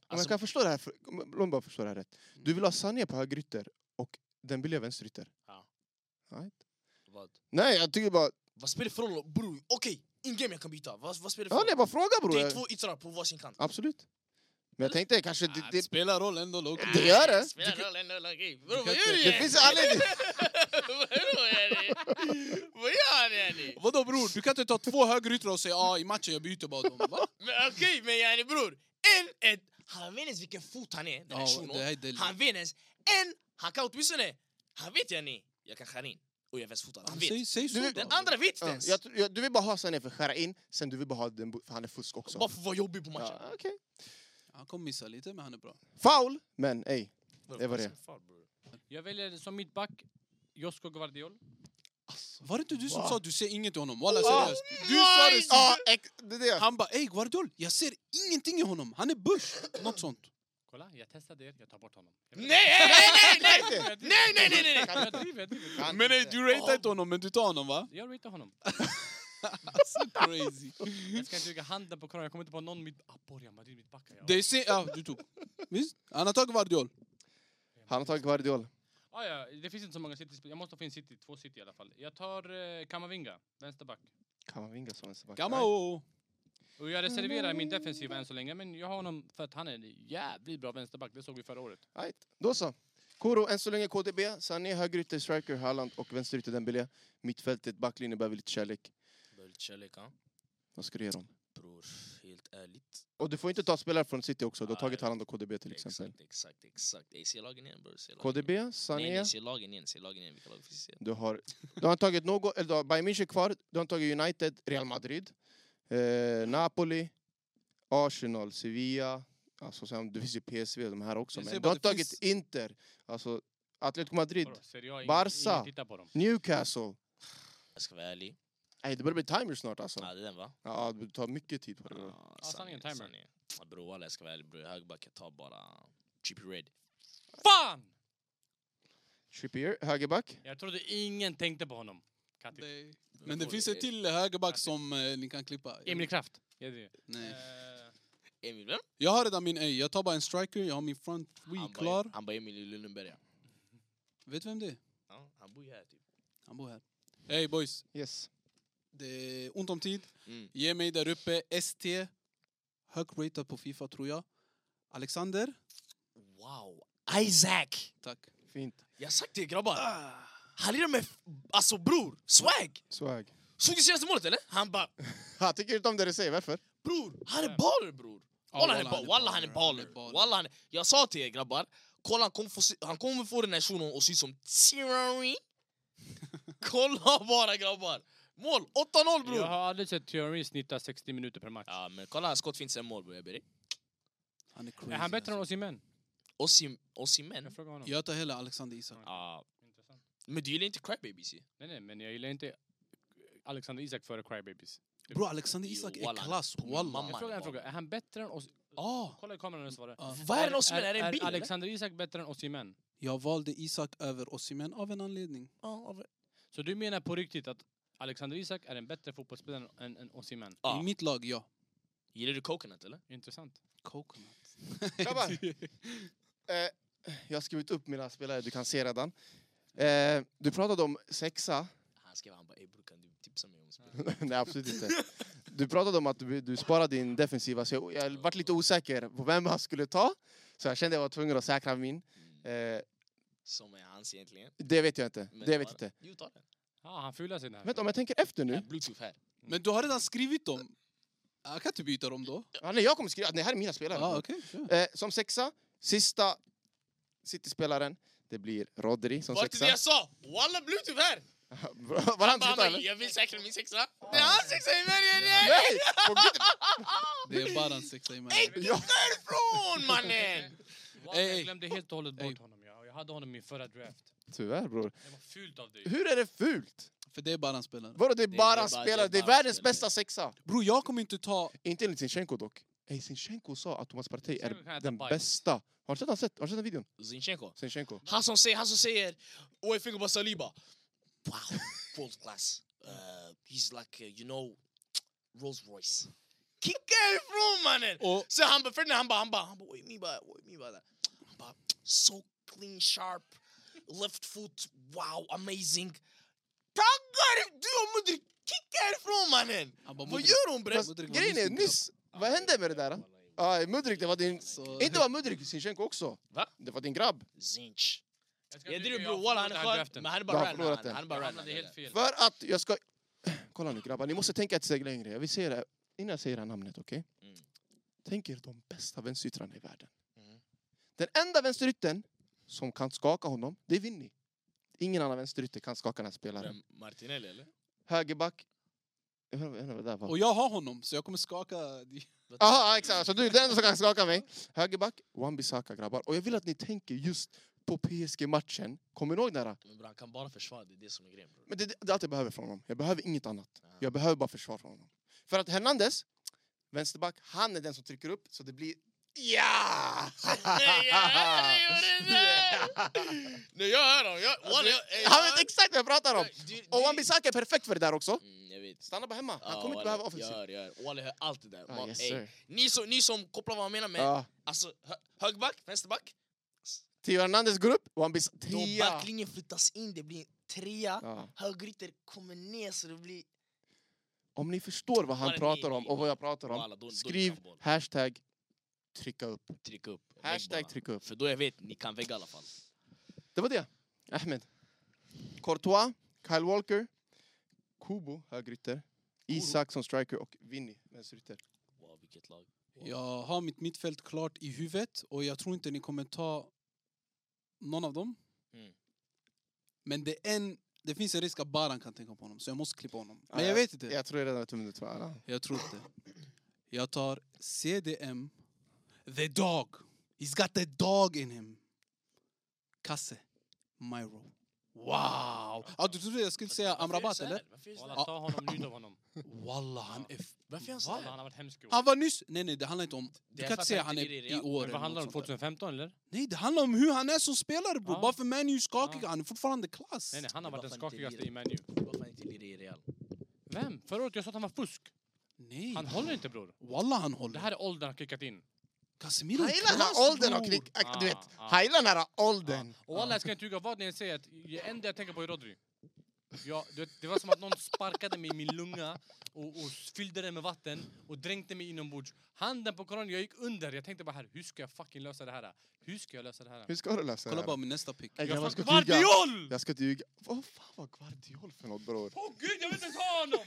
Alltså, Mm. kan förstå det här, för, om- låt mig bara förstå det här rätt. Du vill ha Sané på högerytter och den billiga vänsterytter? Ja. Right. vad? Nej, jag tycker bara... Vad spelar det för roll bror? Okej, in-game jag kan byta. Vad, vad spelar det för Ja, roll? nej, bara fråga bror. Det är Jag- två yttrar på varsin kant. Absolut. Men jag tänkte kanske... Det, Ah, det det, spelar roll ändå, Loke. det gör det. Spelar roll ändå, okej. Bror vad kan gör inte- du? Det yani? finns anledning. Vadå yani? Vad gör han yani? Vadå bror, du kan inte ta två högeryttrar och säga ah, i matchen jag byter bara dem. Va? Men okej, men yani bror. En, en. Han vet inte ens vilken fot han är, den här Ja, det shunon. här är deli. Han vet inte ens. En, han kan åtminstone. Han vet yani. Jag kan skära in. Och jag är vänsterfotad. Han vet. Säg, säg så Du- då. den Den andra vet inte ja, ens. Alltså, jag, tr- jag, du vill bara ha Sané för att skära in, sen du vill bara ha den bo- för han är fusk också. Bara för att vara jobbig på matchen. Ja, okej. Han kommer missa lite, men han är bra. Foul, men ej. det var det. Jag väljer som mittback Josko Gvardiol. Var det inte du som Va? sa att du ser inget i honom? Walla, Ah. seriöst. Du sa det sist. Ja, ex- det är det. Han bara ey Guardiol, jag ser ingenting i honom. Han är Bush. Något sånt. Kolla, jag testade er. Jag tar bort honom. Jag Nej, vet- nej, nej, nej, nej! Jag driver. Nej, nej, nej, nej, nej! Jag driver, jag driver. Kan Men ey, inte. du ratear inte honom, men du tar honom va? Jag ratear honom. Alltså crazy. Jag ska inte lägga handen på kranen. Jag kommer inte på någon mitt... Ah, Borja Madrid mittbacka. Ja. Det är se- ja, du tog. Visst? Han har tagit Guardiol. Han har tagit Guardiol. Ah, ja, det finns inte så många city Jag måste få in City. Två City i alla fall. Jag tar eh, Kamavinga, vänsterback. Kamavinga som vänsterback. Gamao. Och jag reserverar min defensiva än så länge, men jag har honom för att han är en jävligt bra vänsterback. Det såg vi förra året. Right. Då så. Koro, än så länge KDB. Sané, högerytter, striker, Haaland och vänsterytter Dembélé. Mittfältet, backlinjen behöver lite kärlek. Kärlek, ja. Vad ska du ge dem? Bror, helt ärligt. Och du får inte ta spelare från City också. Du har Ah, tagit ja. Haaland och KDB till exempel. Exakt, exakt, exakt. Ey, se lagen igen bror. Se lagen igen. KDB, Nej, Sané. nej, se lagen igen. Se lagen igen. Vilka lag finns det? Du har, du har tagit något, eller du har Bayern München kvar. Du har tagit United, Real Madrid, eh, Napoli, Arsenal, Sevilla. Alltså sen, det finns ju PSV och de här också. Jag Men ser du bara har det tagit finns- Inter, alltså Atletico Madrid, Vadå, Serie A, ingen- Barca. Ingen tittar på dem. Newcastle. Jag ska vara ärlig. Nej, det börjar bli timer snart alltså. Ja, det är den va? Ja, det tar mycket tid på det. Ja, sanningen, timer. sanningen. Ja, Bror walla, jag ska vara ärlig bror. Högerback, jag tar bara Chippy Red. Fan! Trippier, högerback. Jag trodde ingen tänkte på honom. Katic. Men det Bror, finns eh, en till högerback som eh, ni kan klippa. Emil Kraft. Jag vet. Nej. Eh, Emil, vem? Jag har redan min öj. Jag tar bara en striker, jag har min front Han wheel bara- klar. Han bara Emil i Lönneberga. Vet vem det är? Ja, han bor ju här typ. Han bor här. Hey boys, Yes. det är ont om tid. Mm. Ge mig där uppe ST. Högt rated på Fifa tror jag. Alexander. Wow. Isaac! Tack. Fint. Jag har sagt det grabbar. Han lirar med, f- alltså bror, swag! Swag. Såg du senaste målet eller? Han bara, Jag tycker inte om det du säger, varför? bror, han är Ja. baller bror. Ja, Walla han är ba- walla, han är baller. baller. Walla, han är, jag sa till er grabbar, kolla han kommer få, se- han kommer få den här shunon att se ut som Thierry. kolla bara grabbar. Mål, 8-0 jag bror. har aldrig sett Theory snitta 60 minuter per match. Ja men kolla hans skott finns en mål bror, jag ber dig. Han är crazy. Är han bättre än alltså. Osimhen? Osim- Osimhen. Jag frågar honom. Jag tar hela Alexander Isak. Ja. Intressant. Men du gillar inte crybabies ju. Nej, nej, men jag gillar inte Alexander Isak före Crybabies. Bro, Alexander Jo, Isak är wallah. klass. På min Walla. mamma. Jag Man, frågar en bara- fråga. Är han bättre än Osimhen? Ah, Kolla i kameran och svara. Vad är en Osimhen? Är det en bil eller? Alexander Isak bättre än Osimhen? jag valde Isak över Osimhen av en anledning. Ja, av- Så du menar på riktigt att Alexander Isak är en bättre fotbollsspelare än, än Osimhen? Mm. Ja. I mitt lag, ja. Gillar du coconut eller? Intressant. Coconut. Grabbar. Eh, jag har skrivit upp mina spelare, du kan se redan. Eh, du pratade om sexa. Han skrev, han bara ey bror kan du tipsa mig om spel? Nej, absolut inte. Du pratade om att du, du sparade din defensiva, så jag, jag varit lite osäker på vem han skulle ta. Så jag kände jag var tvungen att säkra min. Eh, Som är hans egentligen. det vet jag inte. Men Det ta vet jag den. inte. Jo, ta den. Ja, han fular sig den här. Vänta, om jag tänker efter Ja, nu. Bluetooth här. Men du har redan skrivit dem. Jag kan inte byta dem då. Ah, nej, jag kommer skriva. Nej, här är mina spelare. Ah, okej. ja. Eh, som sexa, sista City-spelaren, det blir Rodri som Var det sexa. det jag sa? Walla Bluetooth här! Var han Han bara, han sexa bara, eller? jag vill säkra min sexa. Det är hans sexa i Bergen! Yeah. Nej! på mitt- Det är bara en sexa i mig. Ey, titta härifrån mannen! Wow, Ey, jag ey. glömde helt och hållet bort Ey. honom. Ja. Jag hade honom i min förra draft. Tyvärr bror. Det var fult av dig. Hur är det fult? För det är bara en spelare. Vadå det är Det är bara bara- en spelare? det Det är är bara världens spelare. bästa sexa! Bro, jag kommer inte ta... Inte enligt Zinchenko dock. Ey, Zinchenko sa att Thomas Partey Zinchenko kan är äta den bajs. bästa. Har du sett, han sett, har du sett den videon? Zinchenko. Zinchenko. Han som säger, han som säger, oj finger på Saliba. Wow, world class. Uh, he's like, uh, you know, Rolls Royce. Kicka härifrån mannen! Och Så han bara, Ferdinand han bara, han bara, han bara, oj min bara, oj min bara. Han bara, so clean, sharp, left foot, wow, amazing. Taggar du och Mudrik, kicka härifrån mannen! han bara... Vad Modric- gör hon bre? Fast Mudrik var grejen är, nyss nyss, vad hände med det där? då? Ja, Mudrik, det var din... Så- Inte var Mudrik, Zinchenko också. Va? Det var din grabb. Zinch. ska Jag driver tycka bror, walla han är förlorade den här skön, draften. men han är Du bara har random. förlorat Han, den. han är Jag bara random. hamnade helt fel. För att jag ska... Kolla nu grabbar, ni måste tänka ett steg längre. Jag vill säga det innan jag säger det här namnet, okej? Mm. Tänk er de bästa vänsteryttrarna i världen. Mm. Den enda vänsterytten som kan skaka honom, det är Vinny. Ingen annan vänsterytter kan skaka den här spelaren. Vem, Martinelli eller? Högerback. Jag vet inte- jag vet inte vad det där var. Och jag har honom, så jag kommer skaka... Aha, exakt. Så du är den som kan skaka mig. Högerback, Wan-Bissaka grabbar. Och jag vill att ni tänker just på PSG-matchen. Kommer ni ihåg det här? Men bror han kan bara försvara, det är det som är grejen bror. Men det, det är allt jag behöver från honom. Jag behöver inget annat. Ja. Jag behöver bara försvar från honom. För att Hernandez, vänsterback, han är den som trycker upp så det blir... Ja! Nej jag hör honom, jag... walla, jag- ey, Han jag- vet exakt vad jag pratar om! Du- du- Och Wan-Bissaka är perfekt för det där också. Mm, Jag vet. Stanna bara hemma. Ja, Han kommer walla, inte behöva Jag offensiv. hör, jag hör. Walla, jag hör allt det där. Ah, Man, yes, ey, sir. Ah. ni, som, ni som kopplar vad jag menar med, Ja. alltså hö, högback, vänsterback. Theo Hernandez går upp, Wan-Bissaka... Då Tia! backlinjen flyttas in, det blir en trea. Ja. Högerytter kommer ner så det blir... Om ni förstår vad Bara han ni- pratar om och vad jag pratar Walla, då- då om, är det skriv handboll. hashtag trycka upp. Tryck upp. lägg Hashtag bara. trycka upp. För då jag vet, ni kan väga i alla fall. Det var det. Ahmed. Courtois, Kyle Walker, Kubo, högerytter, Isak som striker och Vinny, vänsterytter. Wow, vilket lag. Jag har mitt mittfält klart i huvudet och jag tror inte ni kommer ta någon av dem. Mm. Men det är en... Det finns en risk att Baran kan tänka på honom, så jag måste klippa honom. Ja, Men jag vet inte. Jag tror jag redan vet vem du tror. Alla. Jag tror inte. Jag tar CDM. The dog. He's got the dog in him. Kasse. Myro. Wow! Ja, du trodde jag skulle säga Amrabat, eller? Varför är det så här? Walla, ta honom, njut av honom. Walla, han är... f- Varför är han Walla, han sådär? har varit hemsk i år. Han var nyss... Nej, nej, det handlar inte om... Det Du är kan för inte att säga han han är inte är i i Real. år. Men vad handlar eller det om? något sånt där. 2015 eller? Nej, det handlar om hur han är som spelare, bro. Ja. Bara för Man U är skakiga. Ja. Han är fortfarande klass. Nej, nej, han har Det varit var den fan inte skakigaste vi. i Man U. Varför är han inte lirar i Real? Vem? Förra året jag sa att han var fusk. Nej. Han håller inte bror. Walla han håller. Det här är åldern har kickat in. Casemiro är Hela den klass här åldern har bror. knick... Ah, Du vet, ah. hela den här åldern. Och alla jag ska inte ljuga vad ni än säger, att det enda jag tänker på är Rodri. Ja, du vet, det var som att någon sparkade mig i min lunga och, och fyllde den med vatten och dränkte mig inombords. Handen på koranen, jag gick under. Jag tänkte bara här, hur ska jag fucking lösa det här? Hur ska jag lösa det här? Hur ska du lösa Kolla det bara här? min nästa pick. Jag, Jag jag får ska inte ljuga. Guardiol! Jag ska inte ljuga. Vad fan var Guardiol för något bror? Åh gud, jag vill inte ens ha honom!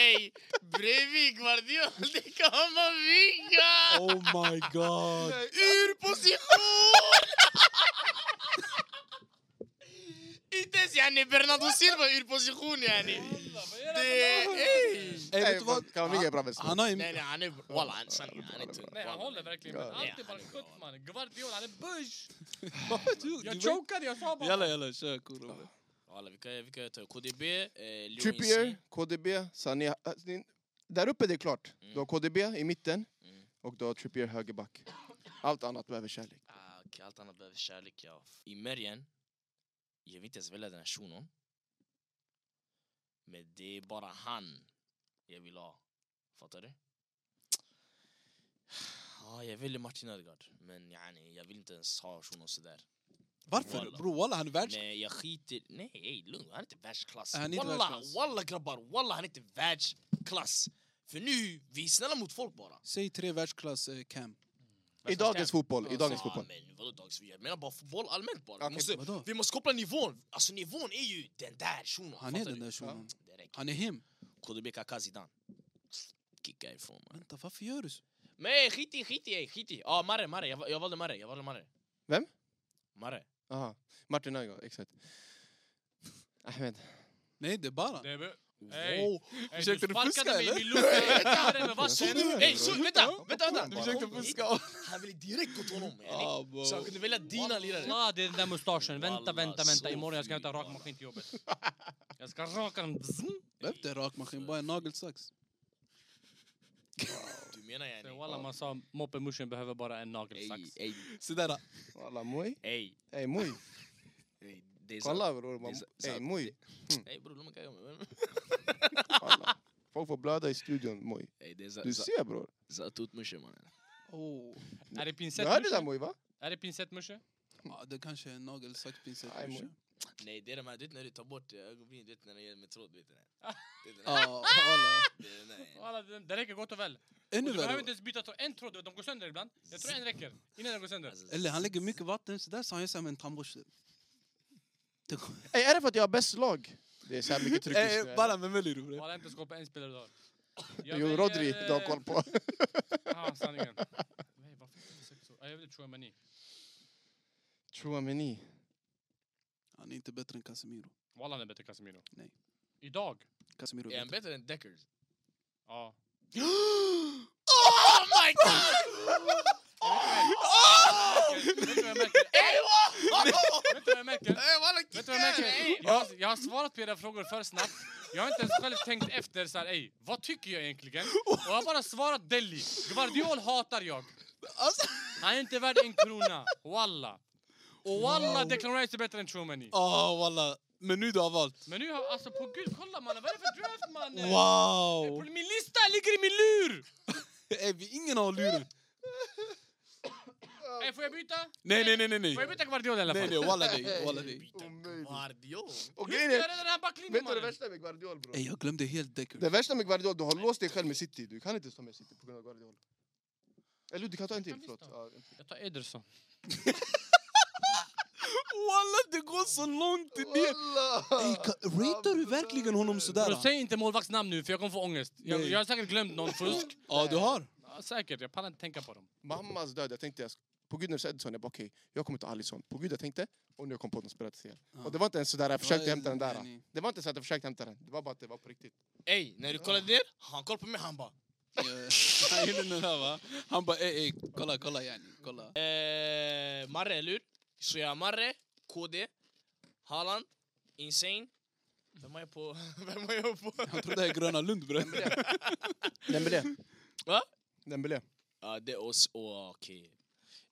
Ey, bredvid Guardiol, det kan man vinga! Oh my god. Ur position! Inte ens yani Bernardo Silva är ur position yani. Det, ey! Ey, Nej, vet du vad? Kan man vinga i bra vänster? Han har Nej ju... nej, han är... Walla, han sanning, han är tung. Nej, han håller verkligen Ja. med. Allt Nej, är bara han är skött mannen. Guardiola, han är bush! Du- du Jag vet- chokade, jag sa bara... Jalla jalla, kör Kuro. Walla, vilka, vilka tar KDB, eh, Leon Trippier, Messi. KDB, Sané. Äh, ni- Där uppe det är klart. Du har KDB i mitten Mm. och du har Trippier högerback. Allt annat behöver kärlek. Ah, okej, allt annat behöver kärlek, ja. I Mergen, jag vill inte ens välja den här shunon. Men det är bara han jag vill ha. Fattar du? Ah, jag väljer Martin Ödegaard, men yani, jag vill inte ens ha shunon sådär. Varför? Walla. Bror walla, han är världs... Nej, jag skiter... Nej, ey, lugn. Han är inte världsklass. Han är inte Walla, världsklass. walla grabbar, walla han är inte världsklass. För nu, vi är snälla mot folk bara. Säg tre världsklass eh, cam. I dagens fotboll. I dagens Ja, fotboll. men vadå dags? Jag menar bara fotboll allmänt bara. Okej, vi, måste, vadå? Alltså, vi måste koppla nivån. Alltså nivån är ju den där shunon. Han är fattar den du? där shunon. Det räcker. Han är him. KDB Kaka Zidane. Kicka ifrån man. Vänta, varför gör du så? Men ey, skit i, skit i, ey, skit i. Ja, Marre, Marre. Jag, jag valde Marre, jag valde Marre. Vem? Marre. Aha. Martin Ödegaard, exakt. Ahmed. Nej, det är bara. Det är bu- Ey, Wow. ey, du Försökte du fuska sparkade mig i eller? min lunga, jag sparkade med Såg du vatten. det? Ey, så, Alltså, vänta, vänta, Du vänta. försökte Kom hit. Han ville direkt gå till honom. yani. Ah, bro. Så han kunde välja dina lirare. Ja, det är den där mustaschen. Vänta, Walla, vänta, så vänta. Imorgon jag ska fint, hämta walla. rakmaskin till jobbet. Jag ska raka den. Bzzm. Behöver inte en rakmaskin, bara en nagelsax. Du menar Så yani? Walla, man sa moppemuschen behöver bara en nagelsax. Ey, ey, Sådär. Walla moj. ey. Ey moj. ey, det är sant. Kolla bror. man- Det är så- Ey moj. Ey bror, låt mig kaka mig. Walla. Folk får blöda i studion moj. Ey, det är Du sant. ser bror. Zatut-musche mannen. Oh. Du hörde det Är det där pincettmusche? moj va? Är det pincettmusche? Ja, det kanske är en nagelsaxpinsett. Nej, kanske. men- Nej det är de här, du vet när du tar bort eh, ögonbrynen, du vet när det är med tråd, du vet den här. Det är den här. Ja, walla. Det är den här. Walla, det det räcker gott och väl. Och Ännu Du behöver inte värre. ens byta tråd. En tråd, de går sönder ibland. Jag tror en räcker innan den går sönder. Alltså, Eller han lägger mycket vatten, sådär så han gör såhär med en tandborste. Det går- Ey, är det för att jag har bäst lag? Det är så här mycket tryck just nu. Eh, Bara, vem väljer du bre? Walla, inte skål på en spelare idag. Jag Jo, väljer, Rodri, du har eh, koll på. Ja, sanningen. Nej, varför inte sex år? Ja, Jag vill tro Mani. Chouameni. Han är inte bättre än Casemiro. Walla, han är bättre än Casemiro. Nej. Idag? Casemiro Är är han bättre. bättre än Deckers? Ja. Oh my god! Vet du vad jag märker? Ey wow! Vet du vad jag märker? Ey walla Vet du vad jag kicken! märker? ey! Jag, har- jag har svarat på era frågor för snabbt. Jag har inte ens själv tänkt efter så här, ey, vad tycker jag egentligen? Och jag har bara svarat Delhi. Guardiol hatar jag. Han är inte värd en krona. Walla. Och walla, Declan Rice är bättre än Trumani. Ah walla. Men nu du har valt. Men nu har, alltså på gud, kolla mannen, vad är det för draft mannen? Wow! På Min lista ligger i min lur! Ey, vi- ingen har luren. Ey, får jag byta? Nej, nej, nej, nej, nej. Får jag byta Guardiola i alla fall? Nej, nej, walla dig. Walla dig. Guardiol. Och Hur grejen ska är, jag rädda den här backlinjen vet du det mannen? värsta med Guardiol bror? Ey, jag glömde helt Det Decker. värsta med Guardiol, du har låst dig själv med City. Du kan inte stå med City på grund av Guardiol. Eller du kan ta en till, kan förlåt. visst Ja, en till. Jag tar Ederson. Walla, det går så långt ner. Ey, ka- ratear du verkligen honom sådär? Bro, ah? säg inte målvaktsnamn nu för jag kommer få ångest. Jag, Nej. jag har säkert glömt någon fusk. Ja, du har. Ja, säkert, jag pallar inte tänka på dem. Mammas död, jag tänkte, jag sk- på gud när du sa Edison, jag bara okej, jag kommer ta Alisson. På gud jag tänkte, och nu har jag kom på att de spelat CL. Och det var inte ens sådär, jag försökte Ja, hämta den nej, där. nej. Det var inte så att jag försökte hämta den, det var bara att det var på riktigt. Ey, när du kollade ner, han kollade på mig, han bara Eh, Han gjorde den där va? Han bara ey, ey, kolla, kolla yani, kolla. Eh, Marre, eller hur? Så jag har Marre, KD, Haaland, Insane. Vem har jag på? Vem har jag på? Han trodde det är Gröna Lund bre. Dembélé. Va? Dembélé. Ja, det är oss. Åh, okej.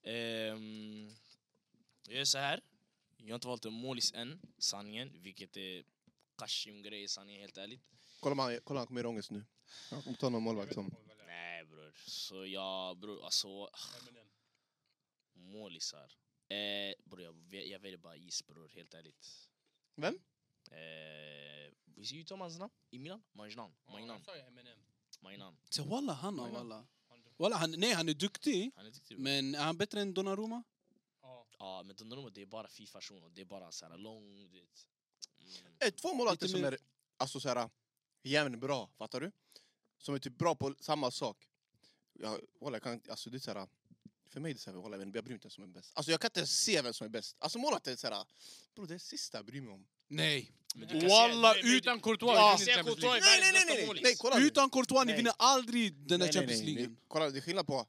Ehm, jag gör så här. Jag har inte valt en målis än, sanningen. Vilket är kashim grej sanningen, helt ärligt. Kolla om han, kolla, om han kommer göra ångest nu. Jag kommer ta någon målvakt som... Nej bror, så jag bror alltså målisar. Eh, bror jag, ve- jag väljer bara is bror, helt ärligt. Vem? Eh, visst uttalar man hans namn? I Milan? Majnan. Majnan. Majnan. Så walla han av alla. Walla, han, nej han är duktig. Han är duktig. bror. Men är han bättre än Donnarumma? Ja men Donnarumma det är bara fifa shuno, det är bara såhär lång, du vet. Mm. Eh, Två målvakter Lite som mer- är alltså, så här, jämnbra, fattar du? Som är typ bra på samma sak. Jag, walla, jag kan, alltså, det är så här, för mig är det så här, walla, jag vet inte, jag bryr mig inte vem som är bäst. Alltså, jag kan inte se vem som är bäst. Alltså, målvakter är så här... Bror, det är sista jag bryr mig om. Nej. Men du kan säga- Walla, du- du- Utan Courtois. Ja. jag vinner Ser Champions Courtois League. Världens Nej, nej, bästa nej, nej! målis. nej kolla nu. Utan Courtois, ni Nej. vinner aldrig den där Nej, nej, Champions nej, League. nej. Kolla, det är skillnad på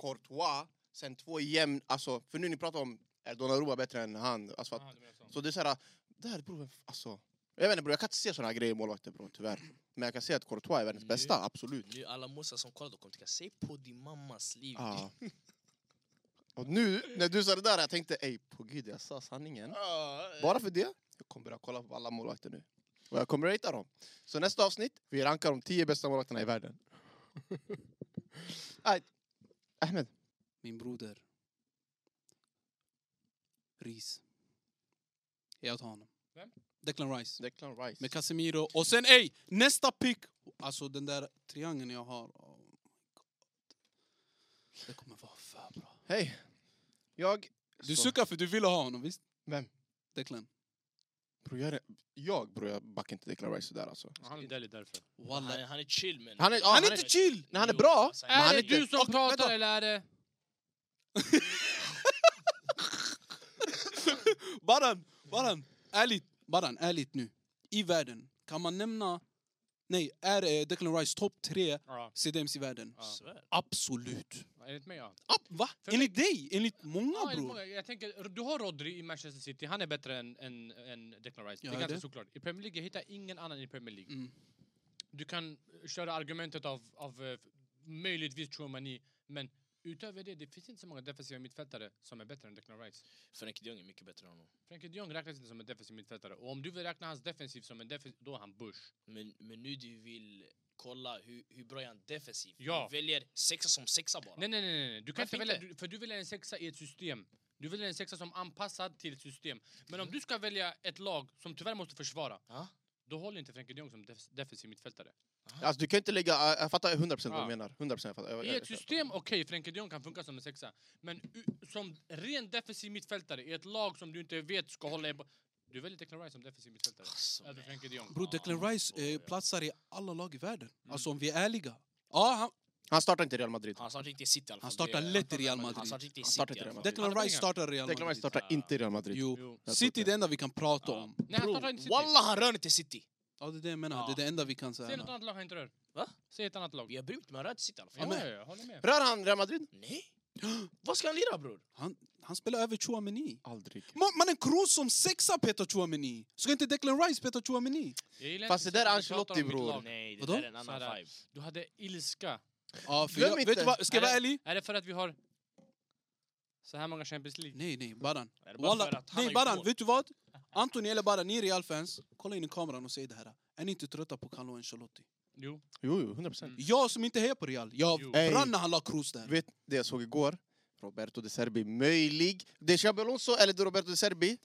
Courtois, sen två jämn... Alltså, för nu ni pratar om, är Donnarumma bättre än han? Alltså, att, Aha, du menar så. Så det är såhär, där bror, alltså. Jag vet inte bror, jag kan inte se såna här grejer i målvakter bror, tyvärr. Men jag kan se att Courtois är världens Nu- bästa, absolut. Nu alla morsar som kollar de kommer tycka, säg på din mammas liv. Ja. Och nu när du sa det där, jag tänkte ey på gud jag sa sanningen. Ja, eh. Bara för det, jag kommer börja kolla på alla målvakter nu. Och jag kommer ratea dem. Så nästa avsnitt, vi rankar de tio bästa målvakterna i världen. Right. Ahmed, Min broder. Ris. Jag tar honom. Vem? Declan Rice. Declan Rice. Med Casemiro. Och sen ey, nästa pick! Alltså den där triangeln jag har. Oh my God. Det kommer vara för bra. Hej! Jag... Du Så- suckar för du ville ha honom, visst? Vem? Declan. Bror, jag, är- jag, bror, jag backar inte Declan Rice sådär alltså. Han är dålig därför. Walla. Han, han är chill men... Han är- ja, Han är inte chill! Nej, han är bra, Jo, alltså, men han Är är det inte... du som Okej, pratar vänta. eller är det... Baran, Baran, ärligt, Baran, ärligt nu. I världen, kan man nämna... Nej, är eh, Declan Rice topp tre Ja. CDMs i världen? Ja. Svär. Absolut. Enligt mig ja. Ab, va? För Enligt dig? Enligt många Ja, enligt bror? många. Jag tänker, du har Rodri i Manchester City, han är bättre än, än, än Declan Rice. Ja, det är är ganska det? såklart. I Premier League, jag hittar ingen annan i Premier League. Mm. Du kan köra argumentet av, av eh, möjligtvis Chouamani, men utöver det, det finns inte så många defensiva mittfältare som är bättre än Declan Rice. Frenkie de Jong är mycket bättre än honom. Frenkie de Jong räknas inte som en defensiv mittfältare, och om du vill räkna hans defensiv som en defensiv, då är han Bush. Men, men nu du vill kolla hur, hur bra är han defensivt. Ja. Du väljer sexa som sexa bara. Nej, nej, nej, nej, nej. du kan Varför inte välja, inte? du, för du vill ha en sexa i ett system. Du vill ha en sexa som är anpassad till ett system. Men om du ska välja ett lag som tyvärr måste försvara, Ja. då håller inte Frenkie de Jong som def- defensiv mittfältare. Alltså, du kan inte lägga... jag- Jag fattar 100% vad Ja. du menar. 100% jag fattar. Jag, I jag, ett system, okej, Frenkie de Jong kan funka som en sexa. Men u- som ren defensiv mittfältare i ett lag som du inte vet ska hålla i bo- Du väljer Declan Rice som defensiv mittfältare. Alltså, Över Frenkie de Jong. Bror, Declan Rice eh, platsar i alla lag i världen. Mm. Alltså om vi är ärliga. Ja, han, Han startar inte Real Madrid. Han startar inte i City i alla fall. han startar Det- lätt i Real Han Madrid. startar inte i Han City. startar i inte i alla fall. Real Declan Rice startar i Real Declan Rice Madrid. startar inte i Real Madrid. Jo. Jo. Jag tror City är inte. det enda vi kan prata Ja. om. Nej, han Bro, startar inte City. Wallah, han rör inte City. Ja, det är det jag menar. Ja. Det är det enda vi kan Säg något säga. annat lag han inte rör. Va? Säg ett annat lag. Jag bryr mig inte, men han rör inte City i alla Ja, fall. ja, jag håller med. Rör han Real Madrid? Nej. Vad ska han lira bror? Han, han spelar över Chouameni. Aldrig. Ma- Mannen Kroos som sexa petar Chouameni. Ska inte Declan Rice peta Chouameni? Jag gillar Fast inte det där är när du pratar om Ancelotti, mitt bror. lag. Nej, det Vadå? där är en annan Sådär. vibe. Du hade ilska. Ja, för Glöm jag, inte. vet du vad, ska jag vara det- ärlig? Är det för att vi har så här många Champions League? Nej, nej, Baran. Är det bara för Walla, att han har nej, gjort Baran, mål? vet du vad? Antoni eller Baran, ni är Real-fans. Kolla in i kameran och säg det här. Är ni inte trötta på Carlo Ancelotti? Jo. Jo, jo, 100%. Mm. Jag som inte hejar på Real, jag Jo. Ey. brann när han la Kroos där. Vet det jag såg igår? Roberto de Serbi, möjlig. Det är Xabi Alonso eller det är Roberto de Serbi?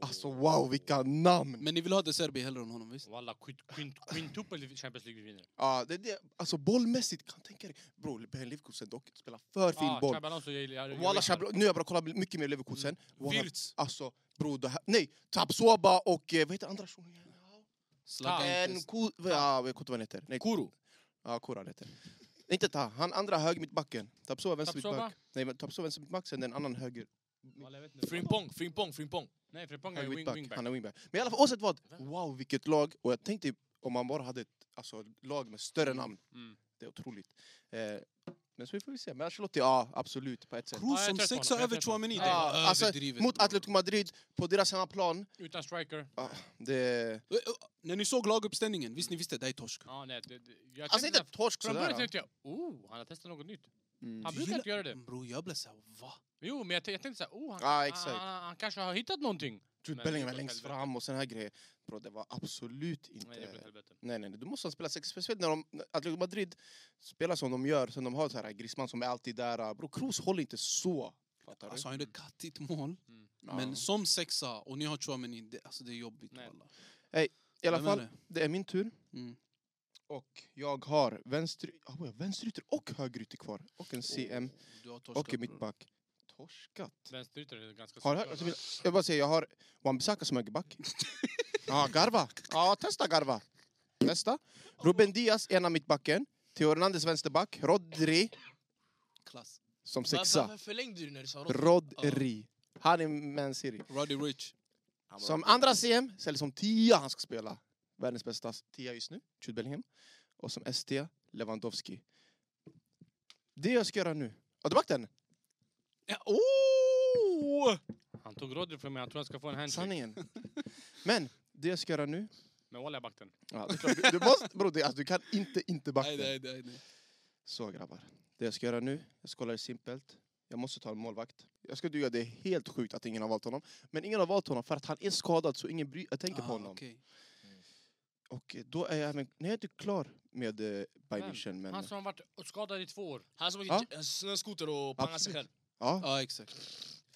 Alltså wow, vilka namn! Men ni vill ha De Serbi hellre än honom, visst? Walla, quint, quint, quintupel i Champions League vi vinner. Ja, det, är det, alltså bollmässigt, kan jag tänka dig? Bror, Ben Leverkusen dock spelar för fin Ah, boll. Xabi Alonso, jag gillar- jag Walla, gillar- Xabi, nu har jag bara kollat mycket mer Leverkusen. Mm. Walla, Wirtz. Alltså, bror, det här, nej! Tapsoba och eh, vad heter andra shunon? Slagga En inte. ko... Ja, jag vet inte vad han heter. Nej, Kuro. Ja, Koran heter det. Inte Ta, han andra höger mittbacken. Tapsova vänster Tapsoba? mittback. Nej, men Tapsova vänster mittback, sen den annan höger. Walla, jag vet inte. Frimpong, Frimpong, Frimpong. Nej, Frimpong är höger wing, mittback. wingback. Han är wingback. Men i alla fall, oavsett vad. Wow, vilket lag. Och jag tänkte om man bara hade ett alltså, ett lag med större namn. Mm. Det är otroligt. Eh, men så får vi se. Men Ancelotti, ja, absolut. På ett sätt. Ja, Kroos jag är som trött på honom. sexa Jag är över trött på honom. Chouameni, det Ja, är alltså, överdrivet. Mot bro. Atletico Madrid, på deras hemmaplan. Utan striker. Ah, det... Eh, eh, När ni såg laguppställningen, visst ni visste, det här är torsk. Ja, nej, det, det, jag Alltså tänkte inte där- torsk Från början sådär. tänkte jag, oh, han har testat något nytt. Mm. Han brukar Gillar- inte göra det. Bror, jag blev såhär, va? Jo, men jag, t- jag tänkte såhär, oh, han, Ah, han, exakt. han, han, han kanske har hittat någonting. Men Typ Bellingham det var blev längst helvete. fram och såna här grejer. Bro, det var absolut inte... Nej, det blev helvete. Nej, nej, nej. Du måste spela sex. Speciellt när de, när Atletico Madrid spelar som de gör. Sen de har så här Griezmann som är alltid där. Bro, Kroos håller inte så. Fattar du? Alltså han mm. gjorde kattigt mål. Ja. Men som sexa, och ni har Chouameni, det, alltså det är jobbigt. Nej. walla. I alla Vem är fall, det är min tur. det? Mm. Och jag har vänster, oh, vänsterytter och högerytter kvar. Och en CM. Oh, Du har torskat, Och en bror. mittback. Torskat. Vänsteryttern är ganska Har du hört? solklar. Alltså, vill- jag bara säger, jag har Wan-Bissaka som högerback. Ja, Garva. Ja, testa Garva. Testa. Ruben Diaz, ena mittbacken. Theo Hernandez, vänsterback. Rodri Klass. som Va- va- sexa. Varför förlängde du när du sa Rodri? Rodri. Han är Man City. Roddy Rich. Han var Som Rodri. andra CM, eller som tia han ska spela. Världens bästa tia just nu, Jude Bellingham. Och som ST, Lewandowski. Det jag ska göra nu... Ja, backen! Ja, oh! Han tog Rodri från mig, han tror han ska få en handshake. Sanningen. Men det jag ska göra nu... Men walla, jag backade den. Ja, det är klart, du, du, måste, bro, det, alltså, du kan inte inte backa. Nej, nej, nej, nej. Så grabbar, det jag ska göra nu, jag ska hålla det simpelt. Jag måste ta en målvakt. Jag ska duga, det är helt sjukt att ingen har valt honom. Men ingen har valt honom för att han är skadad så ingen bry, jag tänker på Ah, honom. okej. Och eh, då är jag även, nej jag är inte klar med eh, Bayern Vem? München men... Han som har varit skadad i två år. Han som åkte Ja. j- snöskoter och pangade sig Absolut. själv. Ja, Ja, exakt.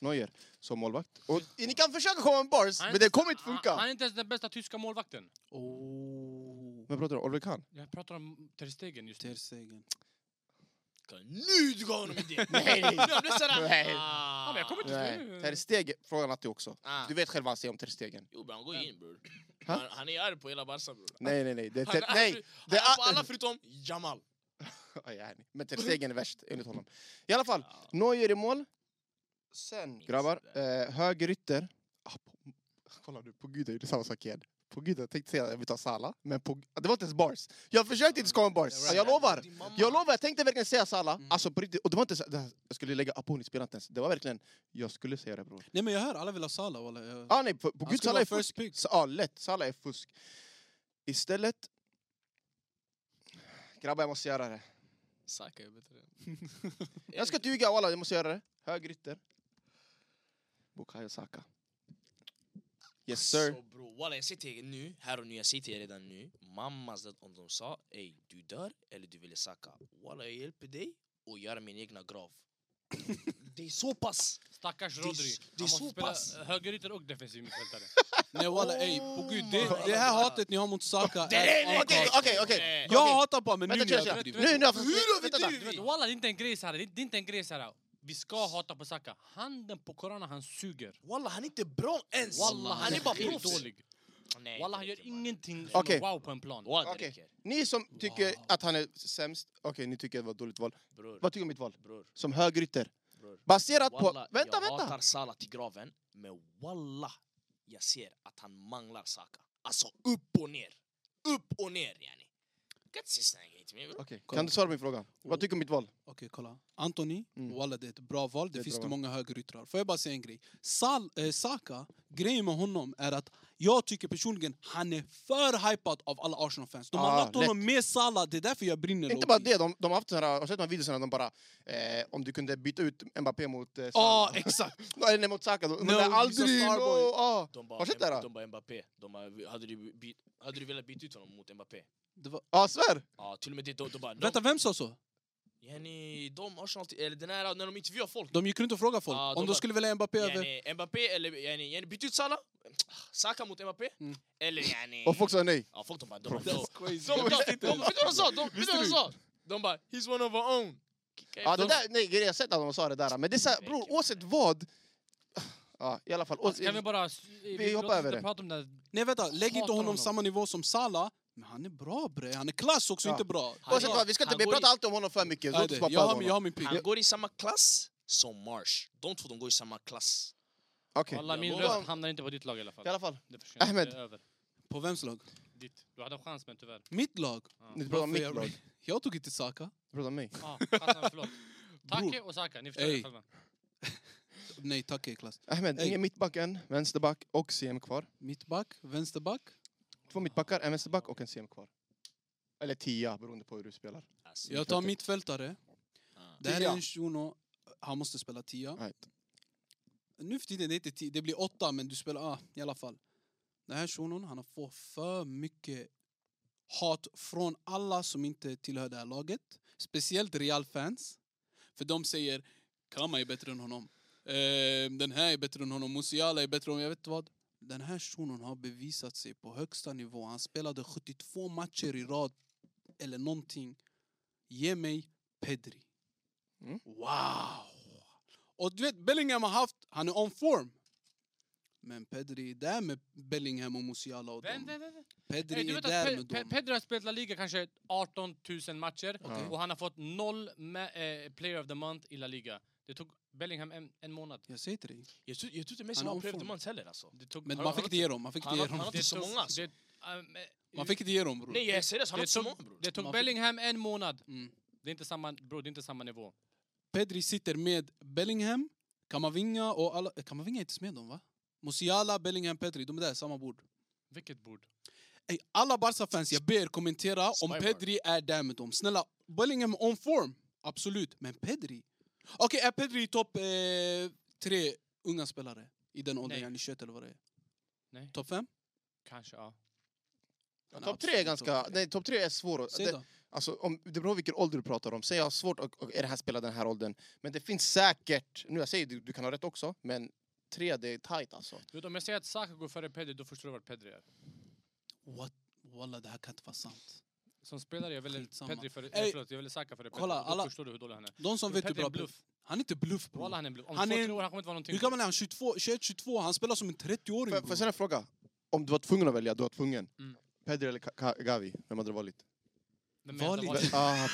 Neuer som målvakt. Och ni kan försöka komma med bars, men det kommer inte Han, han funka! är inte ens den bästa tyska målvakten. Oh. Vem pratar du om? Oliver Kahn? Jag pratar om Ter Stegen just nu. Ter Stegen. Nu du gav honom idén! Nej, nej. Jag blev sådär... Nej. Ah. Ja, men jag kommer inte... Nej, Ter Stegen frågar Natti också. Ah. Du vet själv vad han säger om Ter Stegen. Jo bror, han går in bror. Ha? Han, han är arg på hela Barca bror. Nej, nej, nej. Det är Han ter, är arg- nej. Han Det är arg på är, alla förutom Jamal. Ja, jag är enig. Men Ter Stegen är värst, enligt honom. I alla fall, Neuer i mål. Sen, grabbar, eh, högerytter. Ah, på, kolla nu, på gud, jag gjorde samma sak igen. På gud, jag tänkte säga att vi tar Sala, men på, Ah, det var inte ens bars. Jag försökte inte skapa bars, Ja, right. jag lovar. Din mamma. Jag lovar, jag tänkte verkligen säga Sala. Mm. Alltså på riktigt, och det var inte så, det här, jag skulle lägga Aponi spelar inte ens. Det var verkligen, jag skulle säga det bror. Nej, men jag hör, alla vill ha Salah. walla. Jag- Ah, nej, på, på Han gud, ska Sala vara är fusk. first pick. Så, ja, lätt. Salla är fusk. Istället... Grabbar, jag måste göra det. Saka är bättre. Jag ska inte ljuga, walla, jag måste göra det. Högerytter. Bukayo Saka. Yes sir. Så bror, Alltså, walla jag säger till er nu, här och nu, jag säger till er redan nu. Mammas det om de sa ey du dör eller du vill Saka. Walla jag hjälper dig och gör min egna grav. det är så pass! Stackars är Rodri. s- det är Han måste så spela, pass. eh, Högerytter och defensiv mittfältare. Nej, walla, ey. På gud, Oh. det, det här hatet ni har mot Saka Det är det! är Okej, avgast. okej, Ah, okej. Jag hatar på men nu Vänta, när jag tja, tja. överdriver. Nu, nu, Hur vänta. Du överdriver vet, Walla, det är inte en grej så här. Det är det är inte en grej så här. Vi ska hata på Saka. Handen på corona, han suger. Walla han är inte bra ens! Walla, han är bara proffs. dålig. Nej, Walla, det han gör räcker, man. ingenting som Okej. är wow på en plan. Walla det Okej. räcker. Ni som tycker Wow. att han är sämst, okej, ni tycker det var ett dåligt val. Bror, Vad tycker du om mitt val? bror, Som högerytter. bror. Baserat på... Walla, Vänta, jag vänta! hatar Salah till graven, men walla, jag ser att han manglar Saka. Alltså upp och ner. Upp och ner yani. Du kan inte säga såna här grejer till mig bror. Okej, Kolla. kan du svara på min fråga? Vad tycker du om mitt val? Okej, kolla. Anthony, Mm. walla det är ett bra val. Det, Det är ett finns bra det val. många högeryttrar. Får jag bara säga en grej? Sal, eh, Saka, grejen med honom är att jag tycker personligen han är för hypad av alla Arsenal-fans. De har Ah, lagt honom med Salah, det är därför jag brinner. Inte low-key. bara det, de, de har haft såna här, har du sett de här videorna de bara... Eh, om du kunde byta ut Mbappé mot eh, Ja, Salah. exakt. Nej, nej, mot Saka. De, de Ah, No, är he's a aldrig... No, starboy. ah. De Har du sett det här? bara, de bara Mbappé. De bara, hade, du byt, hade du velat byta ut honom mot Mbappé? Det var... Ja, ah, svär! Ja, till och med det. De, de bara, Vänta, vem sa så? de, yani, de Arsenal, eller den här, när de intervjuar folk. De gick runt och frågade folk. Ah, Om de de bara- skulle välja Mbappé över... Yani, Mbappé eller, yani, yani, byt ut Salah. Saka mot Mbappé. Mm. Eller yani... Och folk sa Eh, nej. Ja, folk de bara... De, Bro, bara, de, crazy. De, de, de, de, vet du vad de sa? De, vet du vad de sa? De bara, he's one of our own. Ja, det där, nej, jag har sett att de sa det där. Men det är så här, bror, oavsett vad... Ja, i alla fall. Alltså, Ska vi Oavsett, bara... Vi hoppar låt oss över inte det. prata om det. här. Nej, vänta. Lägg inte Hatar honom honom. samma nivå som Salah. Men han är bra bre. Han är klass också, Ja. inte bra. Han oavsett går- vad, vi ska inte han vi går pratar alltid om honom för mycket. Så Nej, låt det- oss bara jag, prata om har, jag honom. har min pick. Han går i samma klass som Marsh. De två de går i samma klass. Okej, Walla, min Ja, röst men- hamnar inte på ditt lag i alla i fall. alla fall. Det försvinner. Ahmed. Det är över. På vems lag? Ditt. Du hade en chans, men tyvärr. Mitt lag? Ni pratar om Varför mitt jag- lag. Jag tog inte Saka. Ni pratar om mig. Ja, chansen, förlåt. Bror. Take och Saka, ni förstår Ey. det själva. Nej, tack är klass. Ahmed, Ey. ingen mittback än, vänsterback och CM kvar. Mittback, vänsterback. Två mittbackar, en vänsterback och en CM kvar. Eller tia, beroende på hur du spelar. Alltså, Jag tar mittfältare. Det här är Tia. en shuno, han måste spela tia. Right. Nu för tiden, det är inte tio, det blir åtta men du spelar, ah, i alla fall. Den här shunon, han har fått för mycket hat från alla som inte tillhör det här laget. Speciellt Real-fans. För de säger, Kama är bättre än honom. Eh, den här är bättre än honom, Musiala är bättre än honom, jag vet vad. Den här shunon har bevisat sig på högsta nivå. Han spelade 72 matcher i rad, eller någonting. Ge mig Pedri. Mm. Wow! Och du vet, Bellingham har haft, han är on form. Men Pedri är där med Bellingham och Musiala och Vem, dem. vem, vem? vem? Pedri Eh, Du är vet där att med Pe Pe dem. Pedro har spelat La Liga kanske 18 000 matcher Okej. och han har fått noll ma- eh, player of the month i La Liga. Det tog Bellingham en, en månad. Jag säger till dig. Jag tror jag tror inte Han Messi är har on upplevt det form. man heller alltså. Det tog, Men Han- man han fick inte ge dem, man fick han inte har- ge han dem. har- inte så tog- många, alltså. det- um, eh, Man fick inte ge dem bror. Nej jag är seriös, han har det, inte så tog, många bror. det tog Man fick- Bellingham en månad. Mm. Det är inte samma, bror, det är inte samma nivå. Pedri sitter med Bellingham, Kamavinga och alla... eh, Kamavinga är inte ens med dem va? Musiala, Bellingham, Pedri, de är där, samma bord. Vilket bord? Ey, alla Barca-fans, jag ber kommentera om Spybar. Pedri är där med dem. Snälla, Bellingham on form, absolut. Men Pedri? Okej, är Pedri i topp eh, tre unga spelare? I den åldern, Nej. yani 21 eller vad det är. Nej. Topp fem? Kanske, ja. Han är Topp tre är absolut ganska... topp tre. Nej, topp tre är svår. att- Säg Det, då. alltså, om, det beror på vilken ålder du pratar om. Säg jag har svårt att... och Är det här spelar den här åldern? Men det finns säkert... Nu jag säger du, du kan ha rätt också, men tre, det är tajt alltså. Du vet, om jag säger att Saka går före Pedri, då förstår du vart Pedri är. What? Walla, det här kan inte vara sant. Som spelare, jag väljer Skitsamma. Pedri före... Ey, Eh, förlåt, jag väljer Saka före Pedri. kolla, Då alla- förstår du hur dålig han är. De som Men vet hur Pedri är bra... en bluff. Han är inte bluff, bror. Walla, han är en bluff. Om Han två, är en- tre år, han kommer inte vara någonting. Hur gammal är han? 22, 21, 22? Han spelar som en 30-åring. Får får bror. jag ställa en fråga? Om du var tvungen att välja, du var tvungen. Mm. Pedri eller Ka- Ka- Gavi? Vem hade du varit? Vem är Vali- det? Vali- Ah,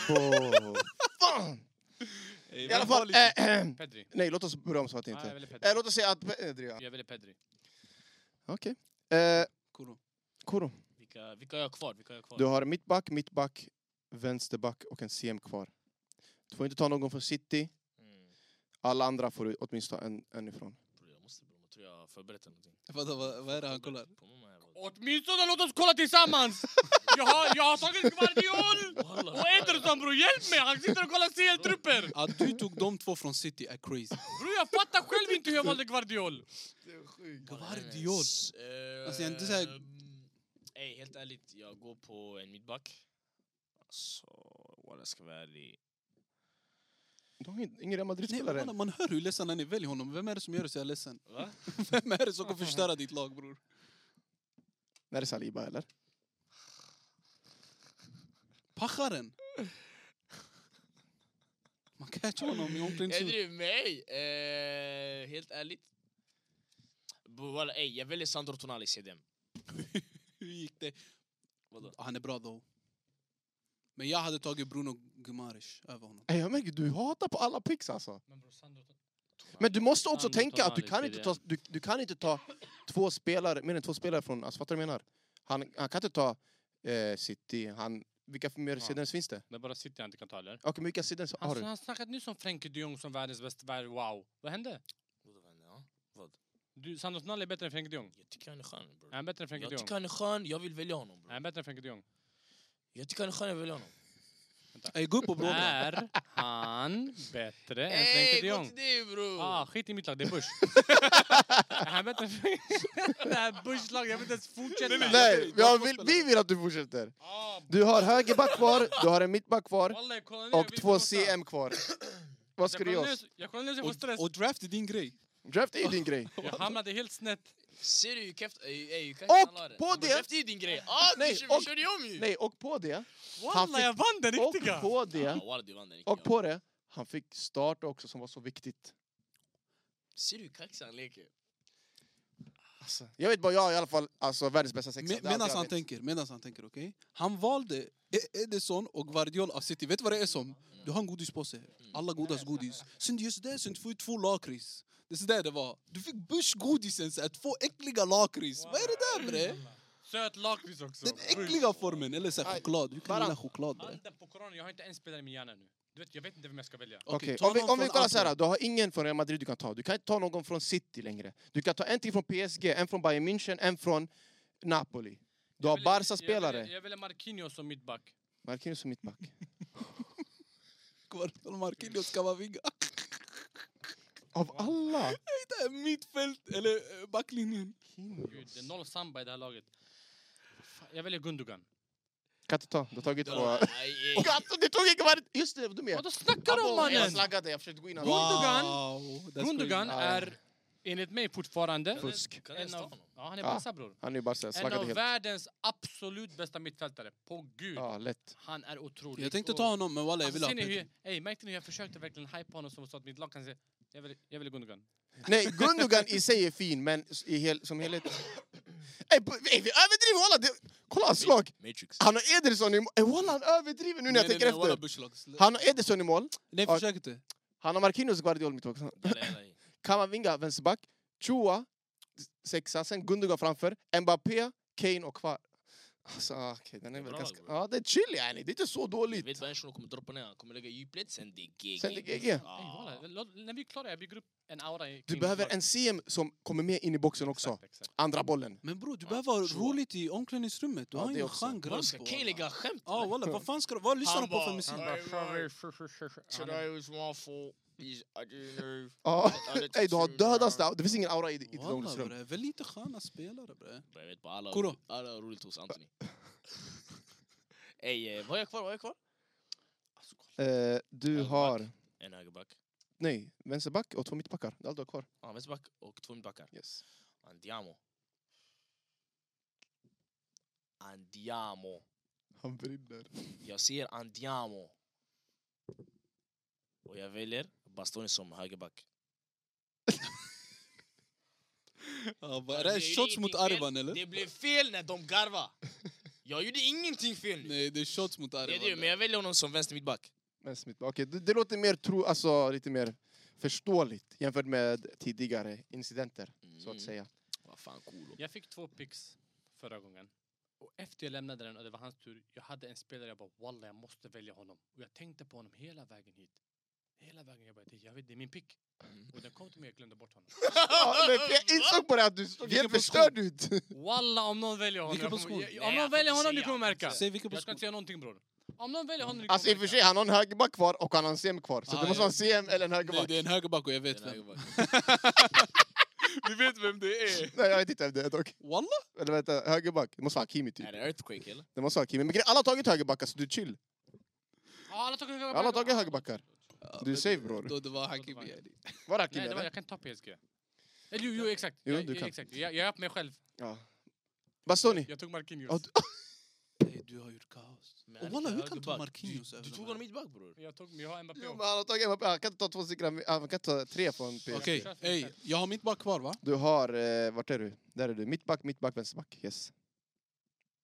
bo. Fan! I alla fall... eh, eh, Pedri. nej, låt oss börja om så att det Ja, jag inte... väljer Pedri. Eh, låt oss säga att Pedri, ja. Jag väljer Pedri. Okej. Eh, Kuro. Koro, Vilka, vilka har jag kvar? Vilka har jag kvar? du har mittback, mittback, vänsterback och en CM kvar. Du får inte ta någon från City. Mm, Alla andra får du åtminstone en, en ifrån. bror, jag måste bror, jag tror jag har förberett någonting. Jag fattar, vad, vad är det han kollar? På mamma, jag bara- Åtminstone låt oss kolla tillsammans! jag, har, jag har tagit Guardiol Walla. och Ederson bror, hjälp mig! Han sitter och kollar CL-trupper! Att du tog de två från City är crazy. Bror jag fattar själv inte hur jag valde Guardiol! Guardiol. S- eh, Alltså, jag är inte så här- mm, Ey, helt ärligt, jag går på en mittback. Så, walla ska vara ärlig. Du har ingen- ingen Real Nej, Madrid-spelare men än. man, man hör hur ledsen han är. Välj honom. Vem är det som gör dig ledsen? Va? Vem är det som kommer förstöra ditt lag, bror? När är Saliba, eller? Pacharen! Man catchar honom i Jag Alltså- omklädningsrummet. driver med ey. Eh, helt ärligt. Bror, walla, ey, jag väljer Sandro Tonali CDM. Hur gick det? Vadå? Han är bra, då. Men jag hade tagit Bruno Gumares över honom. Ey, Jag märker, du hatar på alla picks alltså. Men bror Sandro... Men du måste också Sandro tänka att du Tonali, kan, inte ta, du, du kan inte ta två spelare, mer än två spelare från... Alltså, fattar du vad jag menar? Han, han kan inte ta eh, City, han... Vilka mer Ja. sidor finns det? Det är bara City jag inte kan ta eller? Okej, men vilka sidor har Han, du? Alltså, han snackade nyss om Frenkie de Jong som världens bästa värld. Wow. Vad hände? Vadå, vän, ja? Vad? Du, Sandro Tonali är bättre än Frenkie de Jong. Jag tycker han är skön bror. Är han bättre än Frenkie de Jag Jong? tycker han är skön, jag vill välja honom Är bror. han bättre än Frenkie de Jong? Jag tycker han är skön, jag vill välja honom. Ey, gå upp och bråka. Är han bättre än Frenkie Ey, de gå Jong? till dig Oh. bror! Ah, skit i mitt lag, det är Bush. är han bättre än Frenkie? Det här Bush-laget, jag vill inte ens fortsätta. Nej, jag vill, vi vill att du fortsätter. Ah, Du har högerback kvar, du har en mittback kvar Wallah, jag kollar ner, jag och vill två inte låta. CM kvar. Vad ska Jag du kollar göra? ner- Jag kollar ner så jag får stress. Och, och draft är din grej. Draft är ju din grej. Jag hamnade helt snett. Ser du, Keft... Ey, ey, Keft Och han la på Han det- bara, Keft är din grej! Ah, Nej, Nej, vi, kör- och- vi körde om ju! Nej, och på det, Walla, fick- jag vann den och riktiga! på Ja, det, Ah, walla, du vann den och riktiga. på det, han fick start också som var så viktigt. Ser du hur kaxig han leker? Alltså, jag vet bara, jag har i alla fall alltså, världens bästa sexa. Det är allt Medan jag han vet. tänker, medans han tänker, okej? Han valde E- Edison och Guardiol av City. Vet du vad det är som? Du har en godispåse. Mm. Alla godas godis. Sen just det, sen du får ju två lakrits. Det är sådär det var. Du fick Bush-godisen, så här, två äckliga lakrits. Vad är det där bre? Söt lakrits också. Den äckliga formen, eller så här, Nej, choklad. Du kan Baran. gilla choklad bre. Handen på koranen, jag har inte en spelare i min hjärna nu. Du vet, jag vet inte vem jag ska välja. Okej, ta om vi, någon om vi från kollar så här, Antwerp. du har ingen från Real Madrid du kan ta. Du kan inte ta någon från City längre. Du kan ta en till från PSG, en från Bayern München, en från Napoli. Du Jag har väljer- jag väljer- Barca-spelare. Jag väljer Marquinhos som mittback. Marquinhos som mittback. Kvartal Marquinhos Kamavinga. Av alla? Det är mittfält, eller eh, backlinjen. Gud, det är noll samba i det här laget. Fan, Jag väljer Gundogan. Katta, du har tagit två... Nej, eh, Katta, du tog inte varit... Just det, du med! Vadå snackar du om Jag mannen? slaggade, jag försökte gå in här. Gundogan. Wow, that's Gundogan Ja. är enligt mig fortfarande... Fusk. Kan jag En ens ta av, honom? ja, han är Ja. Barca bror. Han är ju bara så här, En slaggade av helt. världens absolut bästa mittfältare. På gud. Ja, lätt. Han är otrolig. Jag tänkte Och- ta honom, men walla jag vill Alltså, ha ser ni hur, Pedri. jag- ey, märkte ni hur jag försökte verkligen hypa honom som så att mitt lag kan säga jag vill, jag vill Gundogan. Nej, Gundogan i sig är fin, men i hel, som helhet... Ey, bu- ey, vi överdriver walla! Det- Kolla hans lag! Matrix. Han har Ederson i mål! Ey, Walla, han överdriver nu när jag Nej, tänker nej, walla, efter! Bushlock. Han har Ederson i mål, Nej, försök inte. han har Marquinhos Guardiol mittback, Jalla, jalla, jalla. Kamavinga vänsterback, Chua sexa, sen Gundogan framför, Mbappé, Kane och kvar. Alltså, okej, den är väl bra, ganska... bror. Ja, det är chill yani, det är inte så Jag dåligt. Vet vad en shuno kommer droppa ner? Han kommer lägga djuplet, sen det är Ah. GG. Sen det är GG. Ah. Ey, walla, låt- när vi är klara, jag bygger upp en aura i- Du kring behöver mitt lag. en CM som kommer med in i boxen också. Exakt, exakt. Andra bollen. Men bror, du Ja, behöver ha så. roligt i omklädningsrummet. Du Ja, har det ingen också. chans Bro, grabben. ska Kaeli lägga skämt? Ja, walla, vad fan ska du... Vad lyssnar Han de på för bara- musik? Han Han är- Today was waffle. Is- I don't know. Ja. Ja, det- Ey, du har dödats där. Det finns ingen aura i, i ditt Walla omklädningsrum. bre, väl lite sköna spelare bre. Bro, Jag vet bara alla, Kuro. alla har roligt hos Anthony. Ey, eh, vad har jag kvar? Vad har jag kvar? Alltså, kolla. Eh, du Högerback. har... En högerback, Nej, vänsterback och två mittbackar. Det är allt du har kvar. ah, vänsterback och två mittbackar. Yes. Andiamo. Andiamo. Han brinner. Jag ser Andiamo. Och jag väljer Bastoni som högerback. Ja, Ja, vad- är det ju shots mot ingenting fel. Arban eller? Det blev fel när de garva. Jag gjorde ingenting fel nu. Nej, det är shots mot Det är det, men jag Arban. väljer honom som vänster mittback. Men Smith, okej, det, det låter mer tro, alltså lite mer förståeligt jämfört med tidigare incidenter, så att Mm. säga. Vad fan cool. Jag fick två picks förra gången. Och efter jag lämnade den och det var hans tur, jag hade en spelare jag bara walla jag måste välja honom. Och jag tänkte på honom hela vägen hit. Hela vägen, jag bara det- jag vet det är min pick. Mm. Och den kom till mig jag glömde bort honom. Oh, Ja, men jag insåg bara att du såg Vilken helt förstörd ut. Walla om någon väljer honom. jag kommer- Vilken position? jag- Nej, Om någon jag väljer får honom se, du kommer jag får märka. se. Säg vilken Jag ska position. inte säga någonting bror. Om någon väljer honom du Alltså i och kommer för märka. sig, han har en högerback kvar och han har en CM kvar. Så Ah, det måste ja. vara en CM eller en Nej, högerback. det är en högerback och jag vet vem. Vi vet vem det är. Nej, jag vet inte vem det är dock. Walla? Eller vänta, högerback. Det måste vara Hakimi typ. Är det Earthquake eller? Det måste vara Hakimi. Men grejen- alla har tagit högerbackar så du är chill. Ja, Alla har tagit högerbackar. Alla har tagit högerbackar. Ja, Du är men safe, det- bror. Då det var Då Hakimi. det var- Ali. Var det Hakimi Nej, det var, eller? jag kan ta PSG. Eller jo, jo exakt. Jo, jag, du jag- kan. exakt. Jag, jag är på mig själv. Ja. Bastoni. Jag tog Marquinhos. Ja, Nej, du har gjort kaos. Men Och han walla, är hur kan du ta högerback. Marquinhos Du över tog dem? honom mittback bror. Jag, tog, jag har Mbappé Jo, men också. han har tagit Mbappé. Han kan inte ta två cyklar. Han kan inte ta tre från P. Okej, Jag försöker. ey, jag har mitt bak kvar va? Du har, eh, vart är du? Där är du. Mittback, mittback, vänsterback. Yes.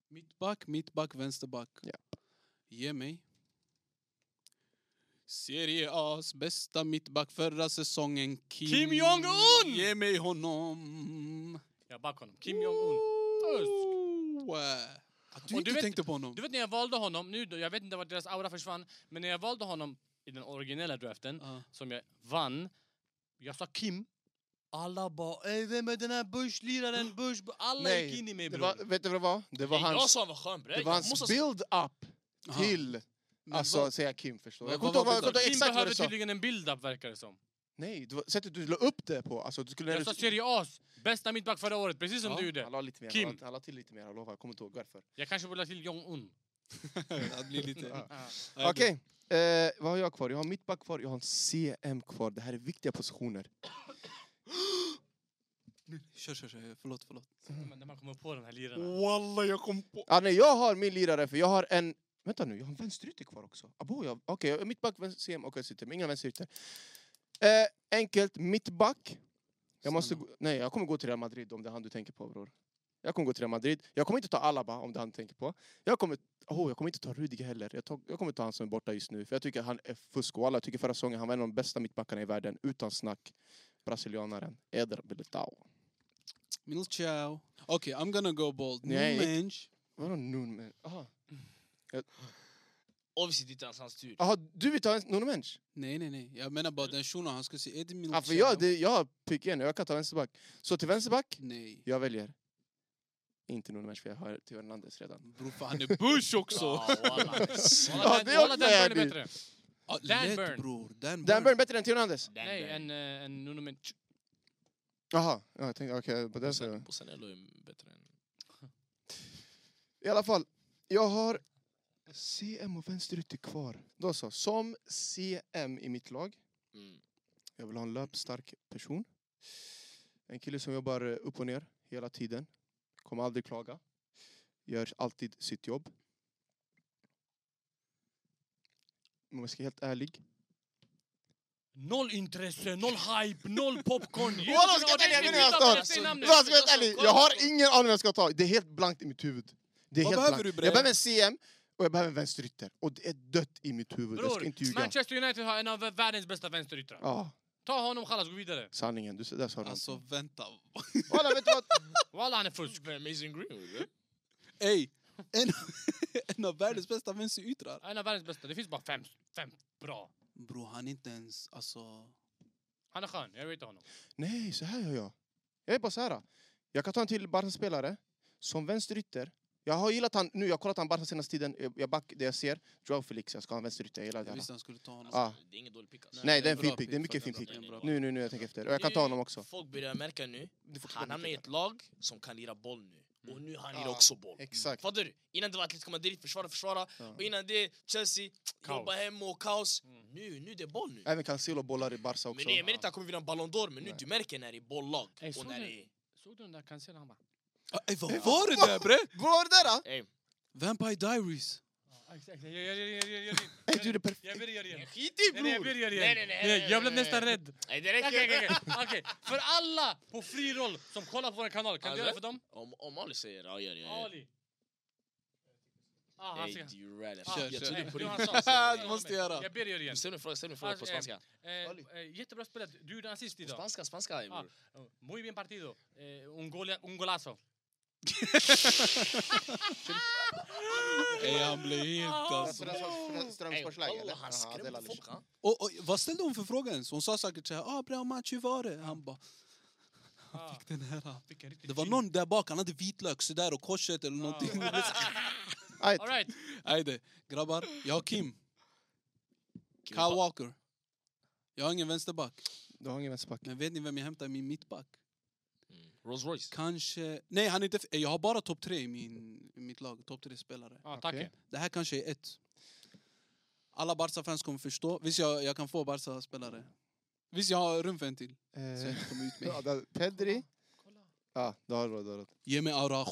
Mittback, mittback, vänsterback. Ja. Ge mig. Serie A's bästa mittback förra säsongen, Kim, Kim Jong-Un! Ge mig honom. Jag backar honom. Kim Jong-Un. Ösk. Oh, eh. Att du Och inte du vet- tänkte på honom. Du vet när jag valde honom, nu då, jag vet inte vart deras aura försvann, men när jag valde honom i den originella draften Ja. som jag vann, jag sa Kim. Alla bara "Ey, vem är den här Bush-liraren? Bush, bu-" alla Nej, gick in i mig Det bror. var, vet du vad det var? Det var Nej, Jag hans, sa han var skön bror. det var Jag hans måste säga- build-up Aha. till... Men Alltså, vad- säga Kim förstår du. Vad- Jag kommer inte vad ihåg var jag kommer inte ihåg Kim exakt vad behöver du sa. tydligen en build-up verkar det som. Nej, det var sättet du la upp det på. Alltså, du skulle... Jag sa Serie A's bästa mittback förra året, precis som Ja, du gjorde. Han la lite mer. Kim. Han la- Han la till lite mer, jag lovar. Jag kommer inte ihåg varför. Jag kanske borde ha till Jong-Un. det blir lite... Ah. Nej, Okej. Eh, vad har jag kvar? Jag har mittback kvar, jag har en CM kvar. Det här är viktiga positioner. du- Kör, kör, kör. Förlåt, förlåt. Men när man kommer på de här Mm. lirarna. Walla, jag kom på... Ah, nej, jag har min lirare, för jag har en... Vänta nu, jag har en vänsterytter kvar också. Abo, jag... Okej, jag har mittback, vänster, CM och vänsterytter. Men inga vänsterytter. Eh, enkelt, mittback. Jag måste... Stanna. gå- Nej, jag kommer gå till Real Madrid om det är han du tänker på, bror. Jag kommer gå till Real Madrid. Jag kommer inte ta Alaba om det är han du tänker på. Jag kommer, oh, jag kommer inte ta Rudiger heller. Jag, tar, jag kommer ta han som är borta just nu. För jag tycker han är fusk. Och alla tycker förra säsongen han var en av de bästa mittbackarna i världen. Utan snack. Brasilianaren Eder Militao. Minus ciao. Okej, I'm gonna go bold. Nej. Mensch. Vadå nun? men- Aha. Obviously det är inte ens hans tur. Aha, du vill ta en Nunmensch? Nej, nej, nej. Jag menar bara den shunon, han skulle se Edin Ja, Minus för jag, det, jag har pick en, jag kan ta vänsterback. Så till vänsterback, Nej. jag väljer. Inte Nunmensch för jag har Theo Hernandez redan. Bror, för han är bush också! Ah, walla. Walla, Walla, det den- walla, också den är är det. bättre. Ah, Dan lätt, Burn. bror. Dan Burn. Dan Burn, bättre än Theo Hernandez? Nej, en, eh, en Nuno Men... Jaha, ja, jag tänkte okej, på det så. Bussanello är bättre än... I alla fall, jag har CM och vänsterytter kvar. Då så, som CM i mitt lag. Mm. Jag vill ha en löpstark person. En kille som jobbar eh, upp och ner hela tiden. Kommer aldrig klaga. Gör alltid sitt jobb. Om jag ska vara helt ärlig. Noll intresse, noll hype, noll popcorn. Jürgen Walla, ska jag Adelsson, välja vem jag utan ska ha? att säga namnet. Vad ska jag vara helt ärlig? Jag har ingen aning om jag ska ta. Det är helt blankt i mitt huvud. Det är Vad helt behöver blankt. du, Bre? jag behöver en CM och jag behöver en vänsterytter. Och det är dött i mitt huvud. jag ska inte Bror, ljuga. Manchester United har en av världens bästa vänsteryttrar. Ja, Ta honom, chalas, gå vidare. sanningen. Du, där sa du alltså. Alltså vänta. Walla, vet du vad? Walla, han är fusk. Amazing Greenwood, eh? Ey! En, en av världens bästa vänsteryttrar. En av världens bästa. Det finns bara fem, fem bra. Bror, han är inte ens... Alltså... Han är skön, jag ratear honom. Nej, så här gör jag. Jag är bara så här. Jag kan ta en till Barca-spelare som vänsterytter. Jag har gillat han nu. Jag har kollat han Barca senaste tiden. Jag- Jag back det jag ser. Joao Felix. Jag ska ha en vänsterytter. Jag gillar Jag det. visste han skulle ta honom. Ah. Det är ingen dålig pick alltså. Nej, det är en bra fin pick. Det är pick, mycket fin faktiskt. pick. Det är en bra Nu, nu, nu. Jag tänker efter. Och jag kan ta honom också. Folk börjar märka nu, Du får han hamnar i ett lag som kan lira boll nu. Mm. Och nu han lirar Ja, också boll. Exakt. Fattar du? Innan det var Atletico Madrid, försvara, försvara. Ja. Och innan det Chelsea, Kaos. jobba hem och kaos. Mm. Nu, nu det är boll nu. Även Cancelo bollar i Barca också. Men nej, jag menar inte att han kommer vinna Ballon d'Or, men nu Nej. du märker när det är bollag. Ey, och såg när du- det är... Såg du den där Cancelo? Han bara... Ah, ey, vad var det där bre? Vad var det där då? Ey, Vampire Diaries. "Ja, exakt, jag gör det, jag gör det, jag gör det." Ey, du, det är perfekt. Jag ber dig, gör det igen. skit i Nej, nej, jag ber bror! dig, gör det Nej, nej, igen. nej, Nej, nej, Jag blev nej, nästan nej. rädd. Nej, det Okej, räcker. okej, okej. Okej, För alla på fri roll som kollar på vår kanal, kan du göra det för dem? Om, om Ali säger ja, gör det. ja, Ali. Ah, ja. han Ey, ska... du är rädd. Ah, Kör, Jag kör. trodde nej, på det var riktigt. han som sa. Du måste göra. Jag ber dig göra det igen. Ställ en fråga, ställ en fråga på Alltså, ehm, spanska. Eh, Ali. eh, jättebra spelat. Du gjorde assist På idag. spanska, spanska ey, Ah. bror. Oh, Muy bien partido. Eh, un, gola, un golazo. Ey, han blev helt alltså... Ey, Strömsborgslag? wallah, Han skrämde folk. han. Och, och, vad ställde hon för fråga ens? Hon sa säkert såhär, ah bra match, hur var det? Han bara, Ah, den här. vilken riktig Det var fin- någon där bak, han hade vitlök sådär och korset eller någonting. All right. Ajde, grabbar. Jag har Kim. Kyle Walker. Jag har ingen vänsterback. Du har ingen vänsterback. Men vet ni vem jag hämtar i min mittback? Rolls Royce. Kanske... Nej, han är inte... Jag har bara topp tre i, min, i mitt lag. Topp tre spelare. Ah, Okej. tack. Det här kanske är ett. Alla Barca-fans kommer förstå. Visst, jag, jag kan få Barca-spelare. Visst, jag har rum för en till. Så jag Eh, inte kommer ut ja, med. där- Pedri. Ja, du har råd. du har råd. Ge mig Araujo.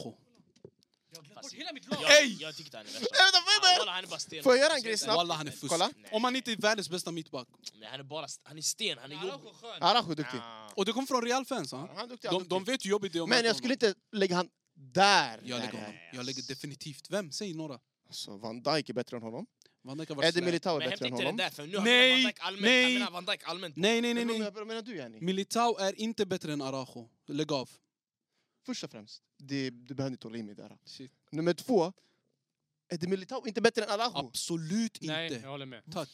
Jag har glömt bort Fast- hela mitt lag. Jag, Ey! jag tyckte han är Ey, värsta. vänta, vänta! Ah, wallah, Han är bara sten. Får jag göra en grej snabbt? Walla, han är fusk. Kolla. Om han inte är världens bästa mittback. Nej, han är bara... st- Han är sten, han är jobbig. Araujo skön. Araujo är duktig. Ah. Och det kom från Real-fans. Ha? Han är duktig. han är De, duktig. de vet hur jobbigt det är att Men möta jag skulle honom. inte lägga han där. Jag Där, lägger där. honom. Jag lägger definitivt. Vem? Säg några. Alltså, Van Dijk är bättre än honom. Van Dijk har varit Eddie slä. Militao är Men hämta bättre än inte den honom. där, för nu har Nej, jag Van Dijk allmänt. nej. Jag menar Van Dijk allmänt. Nej, nej, nej. Men nej. Mm. Vad vad menar du, Jenny? Militao är inte bättre än Araujo. Lägg av. Först och främst, det, du behöver inte hålla i mig där. Shit. Nummer två, Eddie Militao inte bättre än Araujo. Absolut Nej, jag inte. håller med. Tack.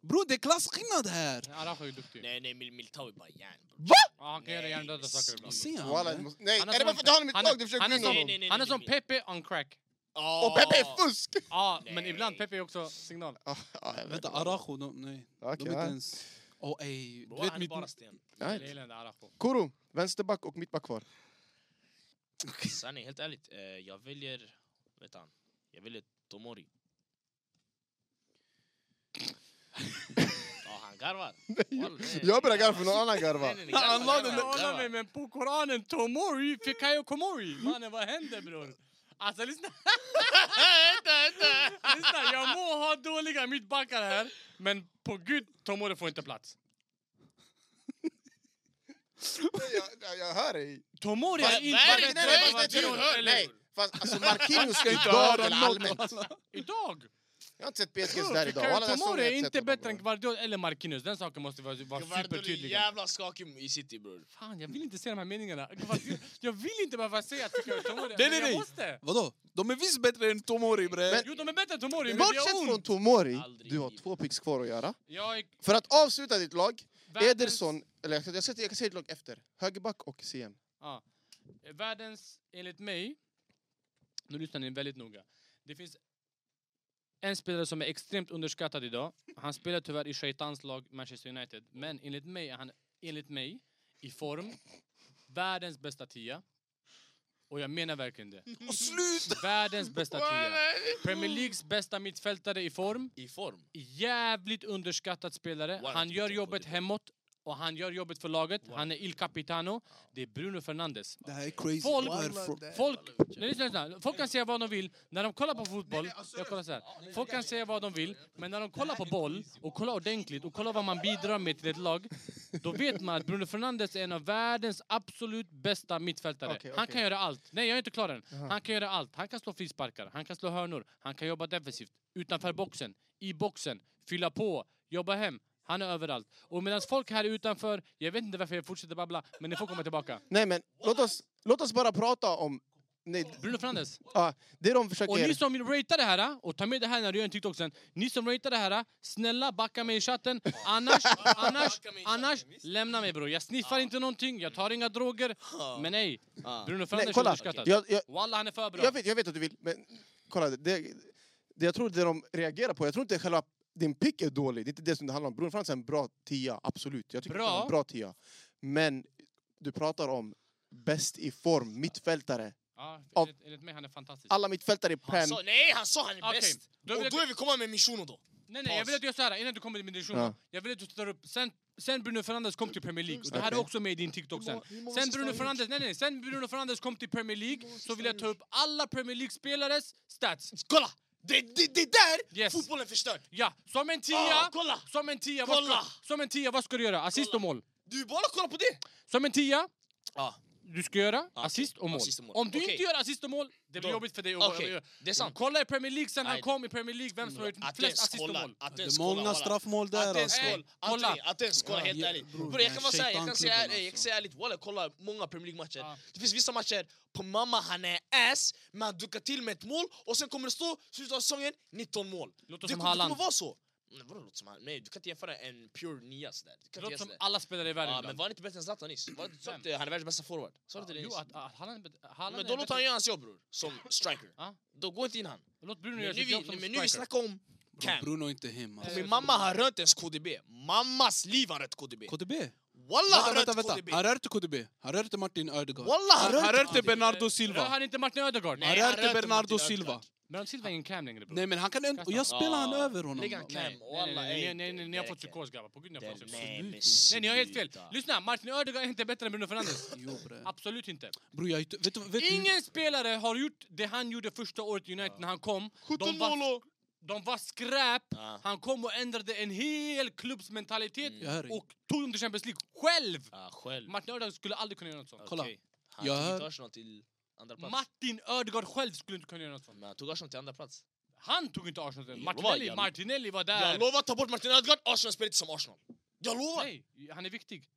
Bror, det är klasskillnad här! Araujo är duktig. Nej, nej, Mil- Militao är bara järn. bror. Ja, han kan göra hjärndöda saker Vad ibland. säger han? Walla, där? du måste- Nej, Han är det bara för att du har honom i ditt lag? Du försöker han, gå är in honom. Nej, nej, som, nej, han är nej, som nej. Pepe on crack. Och Pepe är Ah. fusk! Ja, men Nej. ibland Pepe är också signal. Ah, ja, jag vet. Vänta, Araujo, de, nej. Okej, de är inte ja. ens... Åh ey, Bror, du vet han är mitt... bara sten. Mm. Jag Nej. gillar inte Araujo. Koro, vänsterback och mittback kvar. Sanning, helt ärligt. eh, Jag väljer... Vet han? Jag väljer Tomori. Ja, han garvar. Mm. Jag börjar garva för någon annan garva. Nej, nej, nej, garvar, garvar, garvar. men på Koranen, Tomori, Fikayo Komori. Mannen, vad händer bror? Alltså lyssna, lyssna, jag må ha dåliga mittbackar här, men på gud, Tomori får inte plats. Jag- jag- Jag hör dig. Tomori Vad- är inte... vad är det bättre för- än vad är det Marquinhos, för- eller Nej, hur? fast alltså Marquinhos ska inte höra idag eller allmänt. Idag! Jag har inte sett PSG Bror, där idag. Fikayo Alla där sånger Tomori jag är sett inte honom, bättre bror. än Guardiola eller Marquinhos. Den saken måste vara, vara Gvardiol är supertydlig. jävla skakig i city bror. Fan, jag vill inte se de här meningarna. Gvardiol- Jag vill inte behöva säga att Fikayo Tomori... men Nej, nej, jag nej. måste! Vadå? De är visst bättre än Tomori bre! Men- Jo, de är bättre än Tomori, men det Bortsett gör från ont. Tomori, Aldrig du har i två picks kvar att göra. Jag är För att avsluta ditt lag, världens- Ederson, eller jag, ska- jag, ska, jag kan säga ditt lag efter, högerback och CM. Ja. Eh, Världens, enligt mig, nu lyssnar ni väldigt noga. Det finns En spelare som är extremt underskattad idag. Han spelar tyvärr i Shaitans lag Manchester United. Men enligt mig är han, enligt mig, i form. Världens bästa tia. Och jag menar verkligen det. Och slut! Världens bästa tia. Premier Leagues bästa mittfältare i form. I form. Jävligt underskattad spelare. Wow, Han gör vilken jobbet kvalitet. hemåt och han gör jobbet för laget. Han är Il Capitano. Det är Bruno Fernandes. Det här är crazy. Folk- Varför? Folk, nej, lyssna, lyssna. folk kan säga vad de vill, när de kollar på fotboll... alltså- Jag kollar så här. Folk kan säga vad de vill, men när de kollar på boll och kollar ordentligt och kollar vad man bidrar med till ett lag då vet man att Bruno Fernandes är en av världens absolut bästa mittfältare. Okej, Han okej. kan göra allt. Nej, jag är inte klar än. Han kan göra allt. Han kan slå frisparkar, han kan slå hörnor, han kan jobba defensivt, utanför boxen, i boxen, fylla på, jobba hem. Han är överallt. Och medan folk här utanför, jag vet inte varför jag fortsätter babbla, men ni får komma tillbaka. Nej, men låt oss, låt oss bara prata om... Nej, Bruno Fernandes. ah, det de Och ni försöker... som ratear det här, ah, och ta med det här när du gör en TikTok sen. Ni som ratear det här, ah, snälla backa mig i chatten. Annars, annars, annars, lämna mig bror. Jag sniffar inte någonting, jag tar inga droger. Men nej, Bruno Nej, Fernandes är kolla. underskattad. Jag, jag, Walla han är för bra. jag, vet, jag vet att du vill, men kolla. Det, det, jag tror det de reagerar på, jag tror inte själva din pick är dålig. Det är inte det som det handlar om. Bruno Frans är en bra tia, absolut. Jag tycker Bra. att han är en bra tia. Men du pratar om bäst i form, mittfältare. Ja, Av- enligt, enligt mig han är fantastisk. Alla mittfältare i Han Prem. sa, nej, han sa han är Okej, bäst. då vill och jag- då är vi komma med Mishuno då. Nej, nej, jag vill att du gör så här innan du kommer till min diskussion. Ja. Jag vill att du tar upp, sen, sen Bruno Fernandes kom till Premier League, och det här är Okej. också med i din TikTok sen. Hur många sista Sen har Bruno han gjort? Fernandes, nej, nej, sen Bruno Fernandes kom till Premier League så vill jag ta upp alla Premier League-spelares stats. Kolla! Det, det, det där Yes. fotbollen förstört. Ja, som en Ah, tia! kolla! Som en tia, Kolla! Vad ska, som en tia, vad ska du göra? Assist och mål. Du bara kolla på det. Som en tia, Ja, Ah, du ska göra okej. assist och mål. Assist och mål. Om du Okej. inte gör assist och mål, det blir Då- jobbigt för dig. att- okej. Det är sant. Kolla i Premier League sen Nej, han det- kom i Premier League, vem som har gjort Mm. Att flest ens assist och kolla. mål. Att Det ens är kolla. många walla. straffmål Att där ens alltså. Ey, kolla. Anthony, kolla. att ens kolla Ja, helt ja, ärligt. bror, Bror, jag den kan vara såhär, jag kan säga shaitan-klubben ey, jag kan alltså. säga ärligt, walla kolla många Premier League-matcher. Ja. Det finns vissa matcher, på mamma han är ass, men han dukar till med ett mål och sen kommer det stå slutet av säsongen 19 mål. Låter det som kommer- det Haaland. kommer vara så. Nej, vadå låter som Haaland? Nej, du kan inte jämföra en pure nia sådär. Du kan inte Låter som jämföra det. alla spelare i världen. Ja, ibland. men var han inte bättre än Zlatan nyss? Var det inte så att, eh, Han är världens bästa forward. Sa du inte det jo, nyss? att, att Haaland är bet- Haaland Men är då låter han bättre- göra hans jobb bror, som striker. Ja. Då går inte in han. Låt Bruno göra Men nu sitt vi, jobb som men nu vi striker. snackar om Bro, Cam. Bruno är inte hem alltså. Nej. Min mamma har rört ens KDB. Mammas liv har rört KDB. KDB? Walla har Vänta, rört vänta, KDB. vänta. Han rörde KDB. Han rörde Martin Ödegaard. Walla har Han rört rörde Bernardo Rör Silva. han inte Martin Ödegaard? Nej. Han han rörde rörde Bernardo Martin Silva. Ödegaard. Men Silva är ingen cam längre bror. Nej men han kan ändå... Jag spelar han Ah. över honom. Lägg han då. cam. Nej, Walla, nej, nej, ey, nej, nej, nej, ni har det fått räcker. psykos grabbar. På gud ni har Den- fått psykos. Nej men Nej, ni har helt fel. sluta. Lyssna, Martin Ödegaard är inte bättre än Bruno Fernandes. Jo bre. Absolut inte. Bror jag... är inte- Vet du... vet du- Ingen spelare har gjort det han gjorde första året i United när han kom. De var, de var skräp. Ja. Han kom och ändrade en hel klubbs mentalitet Mm. Jag hör dig. och tog dem till Champions League själv! Ja, själv. Martin Ödegaard skulle aldrig kunna göra något sånt. Kolla. Okej. Han Jag tog hör- inte Arsenal till andra plats. Martin Ödegaard själv skulle inte kunna göra något sånt. Men han tog Arsenal till andra plats. Han tog inte Arsenal till Jag Martinelli, lovar, jag- Martinelli var Jag där. lovar, ta bort Martin Ödegaard, Arsenal spelar inte som Arsenal. Jag lovar! Nej, han är viktig.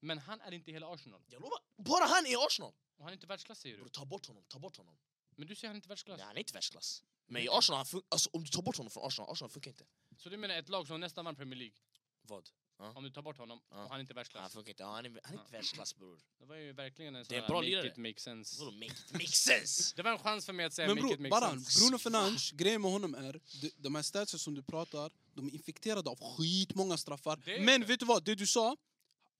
Men han är inte hela Arsenal. Jag lovar. Bara han är Arsenal. Och han är inte världsklass säger Bror, du. ta bort honom, ta bort honom. Men du säger han är inte världsklass. Nej, han är inte världsklass. Men i Arsenal, han fun- alltså, om du tar bort honom från Arsenal, Arsenal funkar inte. Så du menar ett lag som nästan vann Premier League, Vad? om du tar bort honom Ja. och han är inte Han världsklass. funkar inte. Ja, Han är, han är inte världsklass bror. Det var ju verkligen en Det sån är en här bra make lirare. it make sense. Vadå make, it- make sense? Det var en chans för mig att säga Men make it bror, make bara sense. Bruno Fernandes, grejen med honom är, de, de här statsen som du pratar, de är infekterade av skitmånga straffar. Det är Men det. vet du vad, det du sa,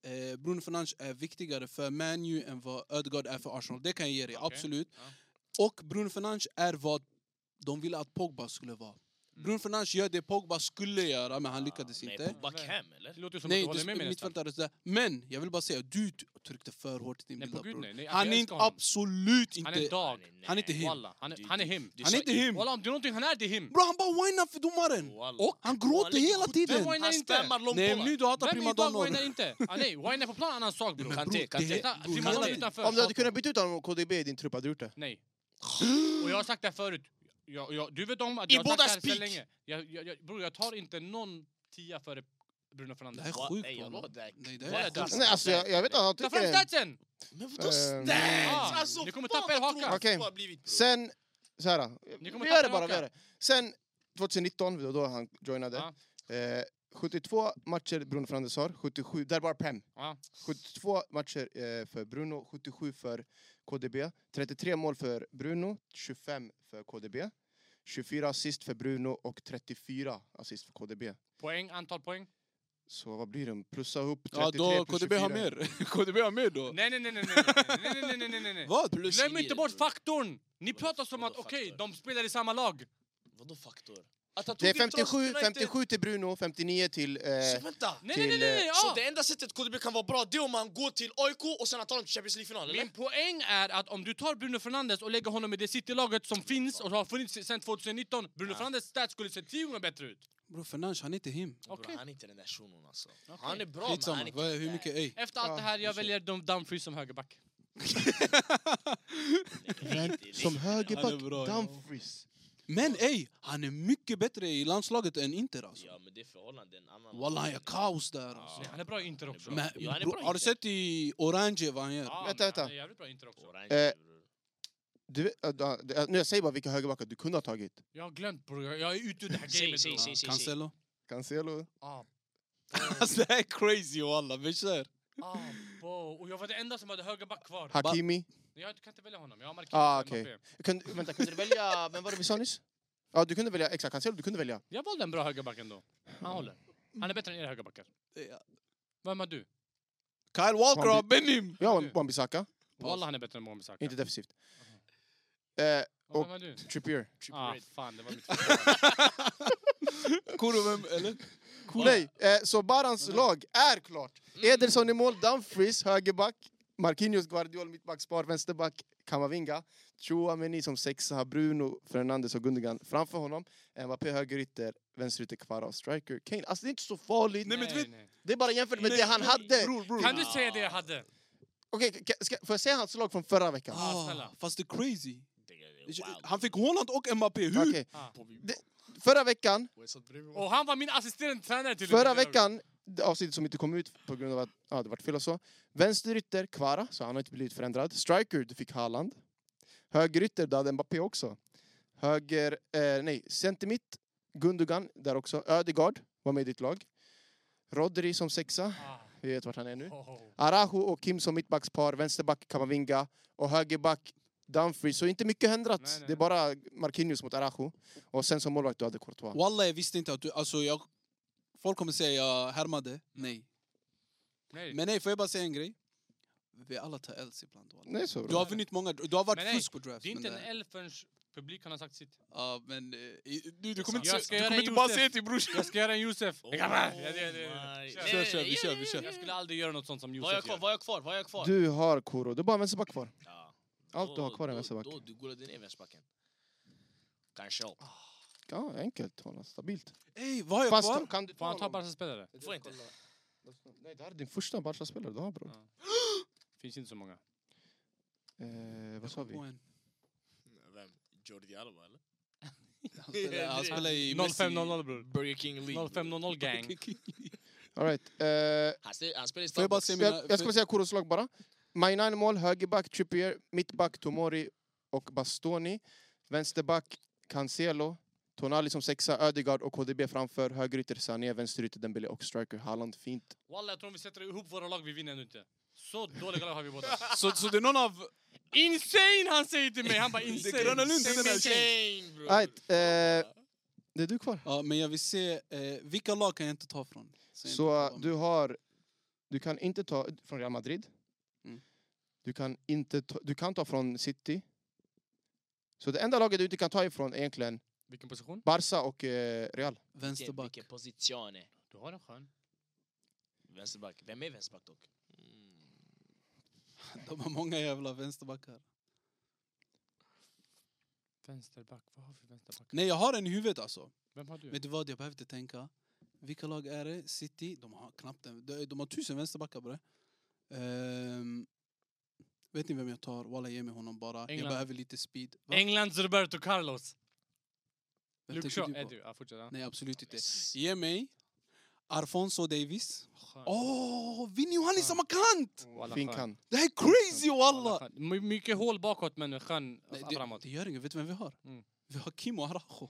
eh, Bruno Fernandes är viktigare för Man U än vad Ödegaard är för Arsenal. Det kan jag ge dig, Okej. absolut. Och Bruno Fernandes är vad de ville att Pogba skulle vara. Mm. Bruno Fernandes gör det Pogba skulle göra, men Ah, han lyckades Nej, inte. Pogba Cam eller? Det låter som Nej, att du håller du med mig nästan. mittfältare sådär. Men jag vill bara säga, du t- tryckte för hårt i din Nej, bild på av gud, Bruno. nej. nej Han är jag inte, älskar honom. absolut Han är inte... dag. Han är inte him. Walla, han är, han är him. Du Han är sa- inte him. Walla, om det är någonting, han är det him. Bro, han bara whinar för domaren! Walla. Och han gråter ligger hela på tiden! Den var Han Nej, inte. spammar Nej, men långbollar. nu du hatar Vem i dag primadonnor. whinar inte? Ah, nej, whinar på plan är en annan sak bror. Men Kanté, Bro, Kanté. det- Titta, bro, Primadonna hela- utanför. Om du hade kunnat byta ut honom mot KDB i din trupp, hade du gjort det? Nej. Och jag har sagt det här förut. Jag, jag, du vet om att I jag har sagt det bådas här sedan peak. länge. Jag, jag, jag, bror, jag tar inte någon tia före Bruno Det Fernandes. här är Va? sjukt Nej, jag honom. lovar, det här- Nej, det det här här är är dumt. sjukt. Nej, alltså, jag, jag vet att han Ta fram tycker... statsen! Men Ehm, Eh, vadå stats? Ah, Alltså, ni kommer fan, tappa er vad haka. tråkigt Okej. det har blivit, bror. Sen, så här. Vi kommer gör det tappa bara, vi tillbaka. gör det. Sen 2019, då- då han joinade. Eh, 72 matcher Bruno Fernandes har, 77, där bara Prem. Ja. 72 matcher eh, för Bruno, 77 för KDB. 33 mål för Bruno, 25 för KDB. 24 assist för Bruno och 34 assist för KDB. Poäng, antal poäng? Så vad blir det? Plussa ihop 33 Ja, då plus KDB har 24. mer. KDB har mer oh. då. Nej, nej, nej, nej, nej, nej, nej, nej, nej, nej, nej, nej. Vad? Plus Glöm nio, inte bort bror. faktorn! Ni Vadå- pratar som att vadå okej, faktor? de spelar i samma lag. Vadå faktor? Att han Det är tog in trots 57, United- 57 till Bruno, 59 till... Så Eh, vänta! Nej, nej, nej, Till, nej, eh, nej, Så ja. det enda sättet KDB kan vara bra det är om han går till AIK och sen han tar dem till Champions League-final, eller? Min poäng är att om du tar Bruno Fernandes och lägger honom i det City-laget som finns och har funnits sedan 2019, Bruno Ja. Fernandes stats skulle se tio gånger bättre ut. Bror, Fernandes, han är inte him. Bror, Okej. Han är inte den där shunon alltså. Han är bra men han är Skitsamma. inte Vad- Hur den mycket? Ey. Efter allt Ja, det här, jag vi kör. väljer Dom Dumfries som högerback. där. som Han är högerback, bra, ja. Dumfries. Men ey, han är mycket bättre i landslaget än Inter alltså. Ja men det är förhållande en annan... Wallah, han gör kaos där Ja. alltså. Nej, han är bra i Inter Han är också. bra. Men, Ja, han är bror, bra i har du Inter. sett i Orange vad han gör? Ja, Vänta, men vänta. Han är jävligt bra i Inter också. Orange, Eh. bror. Du, vet- äh, da- det- äh, nu jag säger bara vilka högerbackar du kunde ha tagit. Jag har glömt bror, jag, jag är ute ur det här Säg, gamet. säg, bror. säg. Ja, Cancelo. Cancelo. Ah, Alltså det här är crazy wallah, vi kör. ah, bo. Och jag var den enda som hade högerback kvar. Hakimi. Nej, Jag kan inte välja honom, jag har markerat Ah, ah, okej. Kun, vänta, kunde du välja... Vem var det vi sa nyss? Ja, du kunde välja... Exakt, Cancelo du kunde välja. Jag valde en bra högerback ändå. Han håller. Han är bättre än era högerbackar. Vem har du? Kyle Walker Wan- har Benim! Ja, Wan-Bissaka. Walla han är bättre än Mohamed Saka. Inte defensivt. Eh, Och och- vem har du? Trippier. Ah, fan, det var mitt fel. Kuro vem, eller? Nej, eh, så Barans lag är klart. Ederson i mål, Dumfries högerback, Marquinhos Guardiol mittbackspar, vänsterback Kamavinga, Chouameni som sexa, Bruno Fernandes och Gundogan framför honom, Mbappé högerytter, vänsterytter Kvara striker Kane. Alltså det är inte så farligt. Nej, men du vet- nej. Det är bara jämfört med Nej, det han nej. hade. Bror, bror. Kan du säga det jag hade? Okej, ka- ska- får jag säga hans lag från förra veckan? Ja, Ah, snälla. fast det är crazy. Wow. Han fick Holland och Mbappé, hur? Okej, Ah. Förra veckan, Och han var min assisterande tränare till och med. förra veckan det avsnittet som inte kom ut på grund av att ja, det varit fel och så. Vänsterytter Kvara, så han har inte blivit förändrad. Striker, du fick Haaland. Högerytter, du hade Mbappé också. Höger, eh, nej, centermitt, Gundogan där också. Ödegaard var med i ditt lag. Rodri som sexa, Ah. vi vet vart han är nu. Ho, ho. Arajo och Kim som mittbackspar, vänsterback Kamavinga och högerback Dumfries. Så inte mycket ändrat. Nej, nej. Det är bara Marquinhos mot Arajo. Och sen som målvakt, du hade Courtois. Wallah jag visste inte att du, alltså jag... Folk kommer säga jag härmade, nej. Mm. Nej. Men nej, får jag bara säga en grej? Vi alla tar Ls ibland wallah. Nej, så Du bra. har vunnit många, du har Men varit nej, fusk på drafts. Det är inte men en det- elf förrän publiken har sagt sitt. Ja, men... eh, i- Du, du kommer Jag inte, ska se, du göra kommer en inte bara Josef. säga till brorsan. Jag ska göra en Josef. Oh Jag kan- Ja, det- det- det- my- Kör. Nej, Kör, nej, kör, vi ja, kör, ja, vi ja, kör. ja. Jag skulle aldrig göra något sånt som Vad har jag Josef kvar? gör. Vad har jag kvar? Vad har jag kvar? Du har Koro, du har bara en vänsterback kvar. Ja. Allt du har Då- kvar är då- vänsterback. Då du gulade ner vänsterbacken. Kanske. Ja, enkelt. Hålla stabilt. Ey, vad har jag kvar? Fast kan du Får han ta honom? Barca-spelare? Du får inte. Nej, det här är din första Barca-spelare du har bror. Finns inte så många. Eh, vad sa vi? På en. Vem? Jordi Alba eller? Han spelar- Han spelar i Messi. 0500 bror. Burger King League. 0500 gang. All right. eh, Han spe- Han spelar i Får jag bara Starbucks. se mina... jag, jag ska bara säga Koros lag bara. Mainan i mål, högerback Trippier, mittback Tomori och Bastoni. Vänsterback Cancelo, Tonali som sexa, Ödegaard och KDB framför. Högerytter Sané, vänsterytter Dembélé och striker Haaland. Fint. Walla, jag tror om vi sätter ihop våra lag, vi vinner ändå inte. Så dåliga lag har vi båda. Så, så det är någon av... Insane han säger till mig! Han bara insane. Gröna Lund, den här Insane bro. All right. eh, det är du kvar. Ja, men jag vill se... Eh, vilka lag kan jag inte ta från? Säg inte Så eh, att jag du har... Du kan inte ta från Real Madrid. Mm. Du, kan inte ta, du kan ta från City. Så det enda laget du inte kan ta ifrån är egentligen Vilken position? Barca och eh, Real. var Vänsterback. Vilken position är? Du har en skön. Vänsterback. Vem är vänsterback dock? Mm. De har många jävla vänsterbackar. Vänsterback. Vad har vi vänsterback? Nej, jag har en i huvudet alltså. Vem har du? Vet du vad, jag behövde tänka. Vilka lag är det? City, de har knappt en... De, de har tusen vänsterbackar bre. Ehm, vet ni vem jag tar? Walla, ge mig honom bara. England. Jag behöver lite speed. Va? Englands Roberto Carlos. Vem Luke tänker Shaw. du Är på? du? Ja, fortsätt. ja. Nej, absolut inte. Yes. Ge mig Alfonso Davis. Skön. Åh, oh, Vinny Johannis Skön. har markant! Walla, Fin skön. kan. Det här är crazy Walla, wallah! skön. My- Mycket hål bakåt, men skön alltså Nej, det, framåt. det gör inget, vet du vem vi har? Mm. Vi har Kim och Arajo.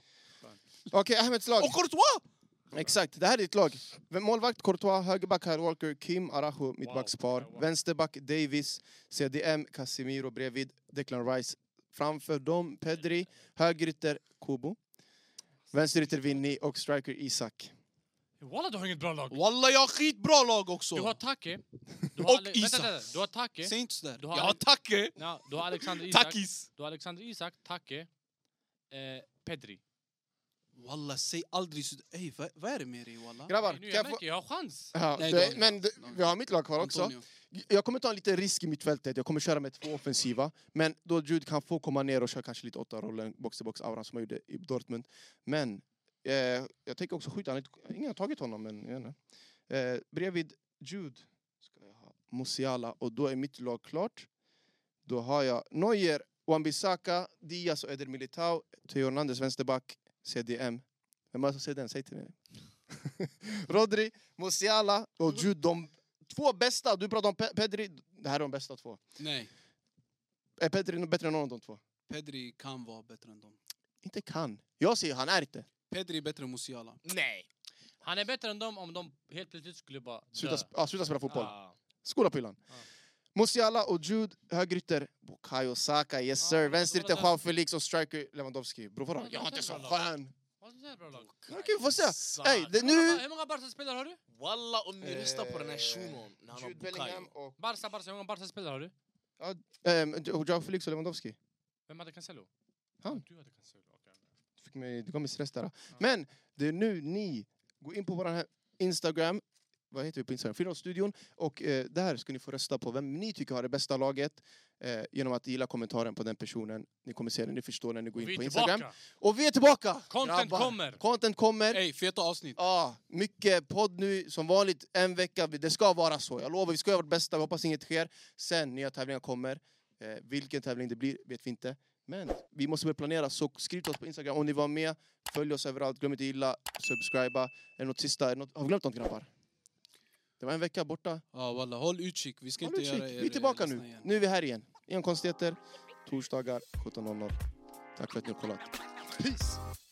Okej, Ahmeds lag. Och Courtois! Exakt, det här är ditt lag. Vem- Målvakt Courtois, högerback Kyle Walker, Kim Arajo, mittbackspar. Wow, wow. Vänsterback Davis, CDM Casemiro bredvid, Declan Rice Framför dem Pedri, högerytter Kubo, vänsterytter Vinny och striker Isak. Walla, du har inget bra lag. Walla, jag har skitbra lag också! Du har Take. Du Och har Ale- vänta, Isak. vänta, vänta. Du har Take. Säg inte sådär. Du har- Jag har Tacke! Ja, du har Alexander Isak. Takis! Du har Alexander Isak, Take, eh, Pedri. Walla, säg aldrig sådär. Ey, vad, vad är det med dig walla? Grabbar, Nu kan jag jag få... märker, jag har chans. Ja, Nej, det- Daniel. men det- vi har mitt lag kvar också. Antonio. Jag kommer ta en liten risk i mittfältet. Jag kommer köra med två offensiva. Men då Jude kan få komma ner och köra kanske lite åtta-rollen, box-to-box-auran som han gjorde i Dortmund. Men eh, jag tänker också skjuta. Han har inte- Ingen har tagit honom, men... Jag vet inte. eh, bredvid Jude ska jag ha Musiala och då är mitt lag klart. Då har jag Neuer, Wan-Bissaka, Diaz och Eder Militao. Theo Hernandez, vänsterback, CDM. Vem har CDM? Säg till mig. Rodri, Musiala och Jude. De två bästa. Du pratar om Pe- Pedri. Det här är de bästa två. Nej, Är Pedri nog bättre än någon av de två? Pedri kan vara bättre än dem. Inte kan. Jag säger han är inte. Pedri är bättre än Musiala. Nej. Han är bättre än dem om de helt plötsligt skulle bara Sluta, dö. sp- ah, sluta spela fotboll. Ah. Skola pilan. Ja. Musiala och Jude, högerytter. Bukayo Saka, yes Ja, sir. men Vänsterytter vadå? Juan Felix och striker Lewandowski. Bror vadå? Jag är inte så skön. Vad är det här bra lag? Okej, vi får se. Sa- Ey, det, Hur många- nu... Hur många Barca-spelare har du? Walla om ni Eh, röstar på den här shunon. när han har Jude Bukayo. Bellingham och... Barca, Barca, hur många Barca-spelare har du? Ehm, och Joao Felix och Lewandowski. Vem hade Cancelo? Han. Du hade Cancelo, okej. Du fick mig, du gav mig stress där. Men det är nu ni går in på vår här Instagram. Vad heter vi på Instagram? Friidrottsstudion. Och eh, där ska ni få rösta på vem ni tycker har det bästa laget. Eh, genom att gilla kommentaren på den personen. Ni kommer se det, ni förstår när ni går in Vi på är Instagram. tillbaka! Och vi är tillbaka! Content kommer. Content kommer. Ey, feta avsnitt. Ja, mycket podd nu, som vanligt en vecka. Det ska vara så, jag lovar. Vi ska göra vårt bästa, vi hoppas inget sker. Sen nya tävlingar kommer. Eh, vilken tävling det blir vet vi inte. Men vi måste börja planera, så skriv till oss på Instagram om ni var med. Följ oss överallt, glöm inte att gilla, subscriba. Är det något sista? Är det något? Har vi glömt något grabbar? Det var en vecka borta. Ja walla, håll utkik. Vi ska Håll inte utkik. göra er Vi är tillbaka ledsna nu. igen. Nu är vi här igen. Inga konstigheter. Torsdagar 17.00. Tack för att ni har kollat. Peace!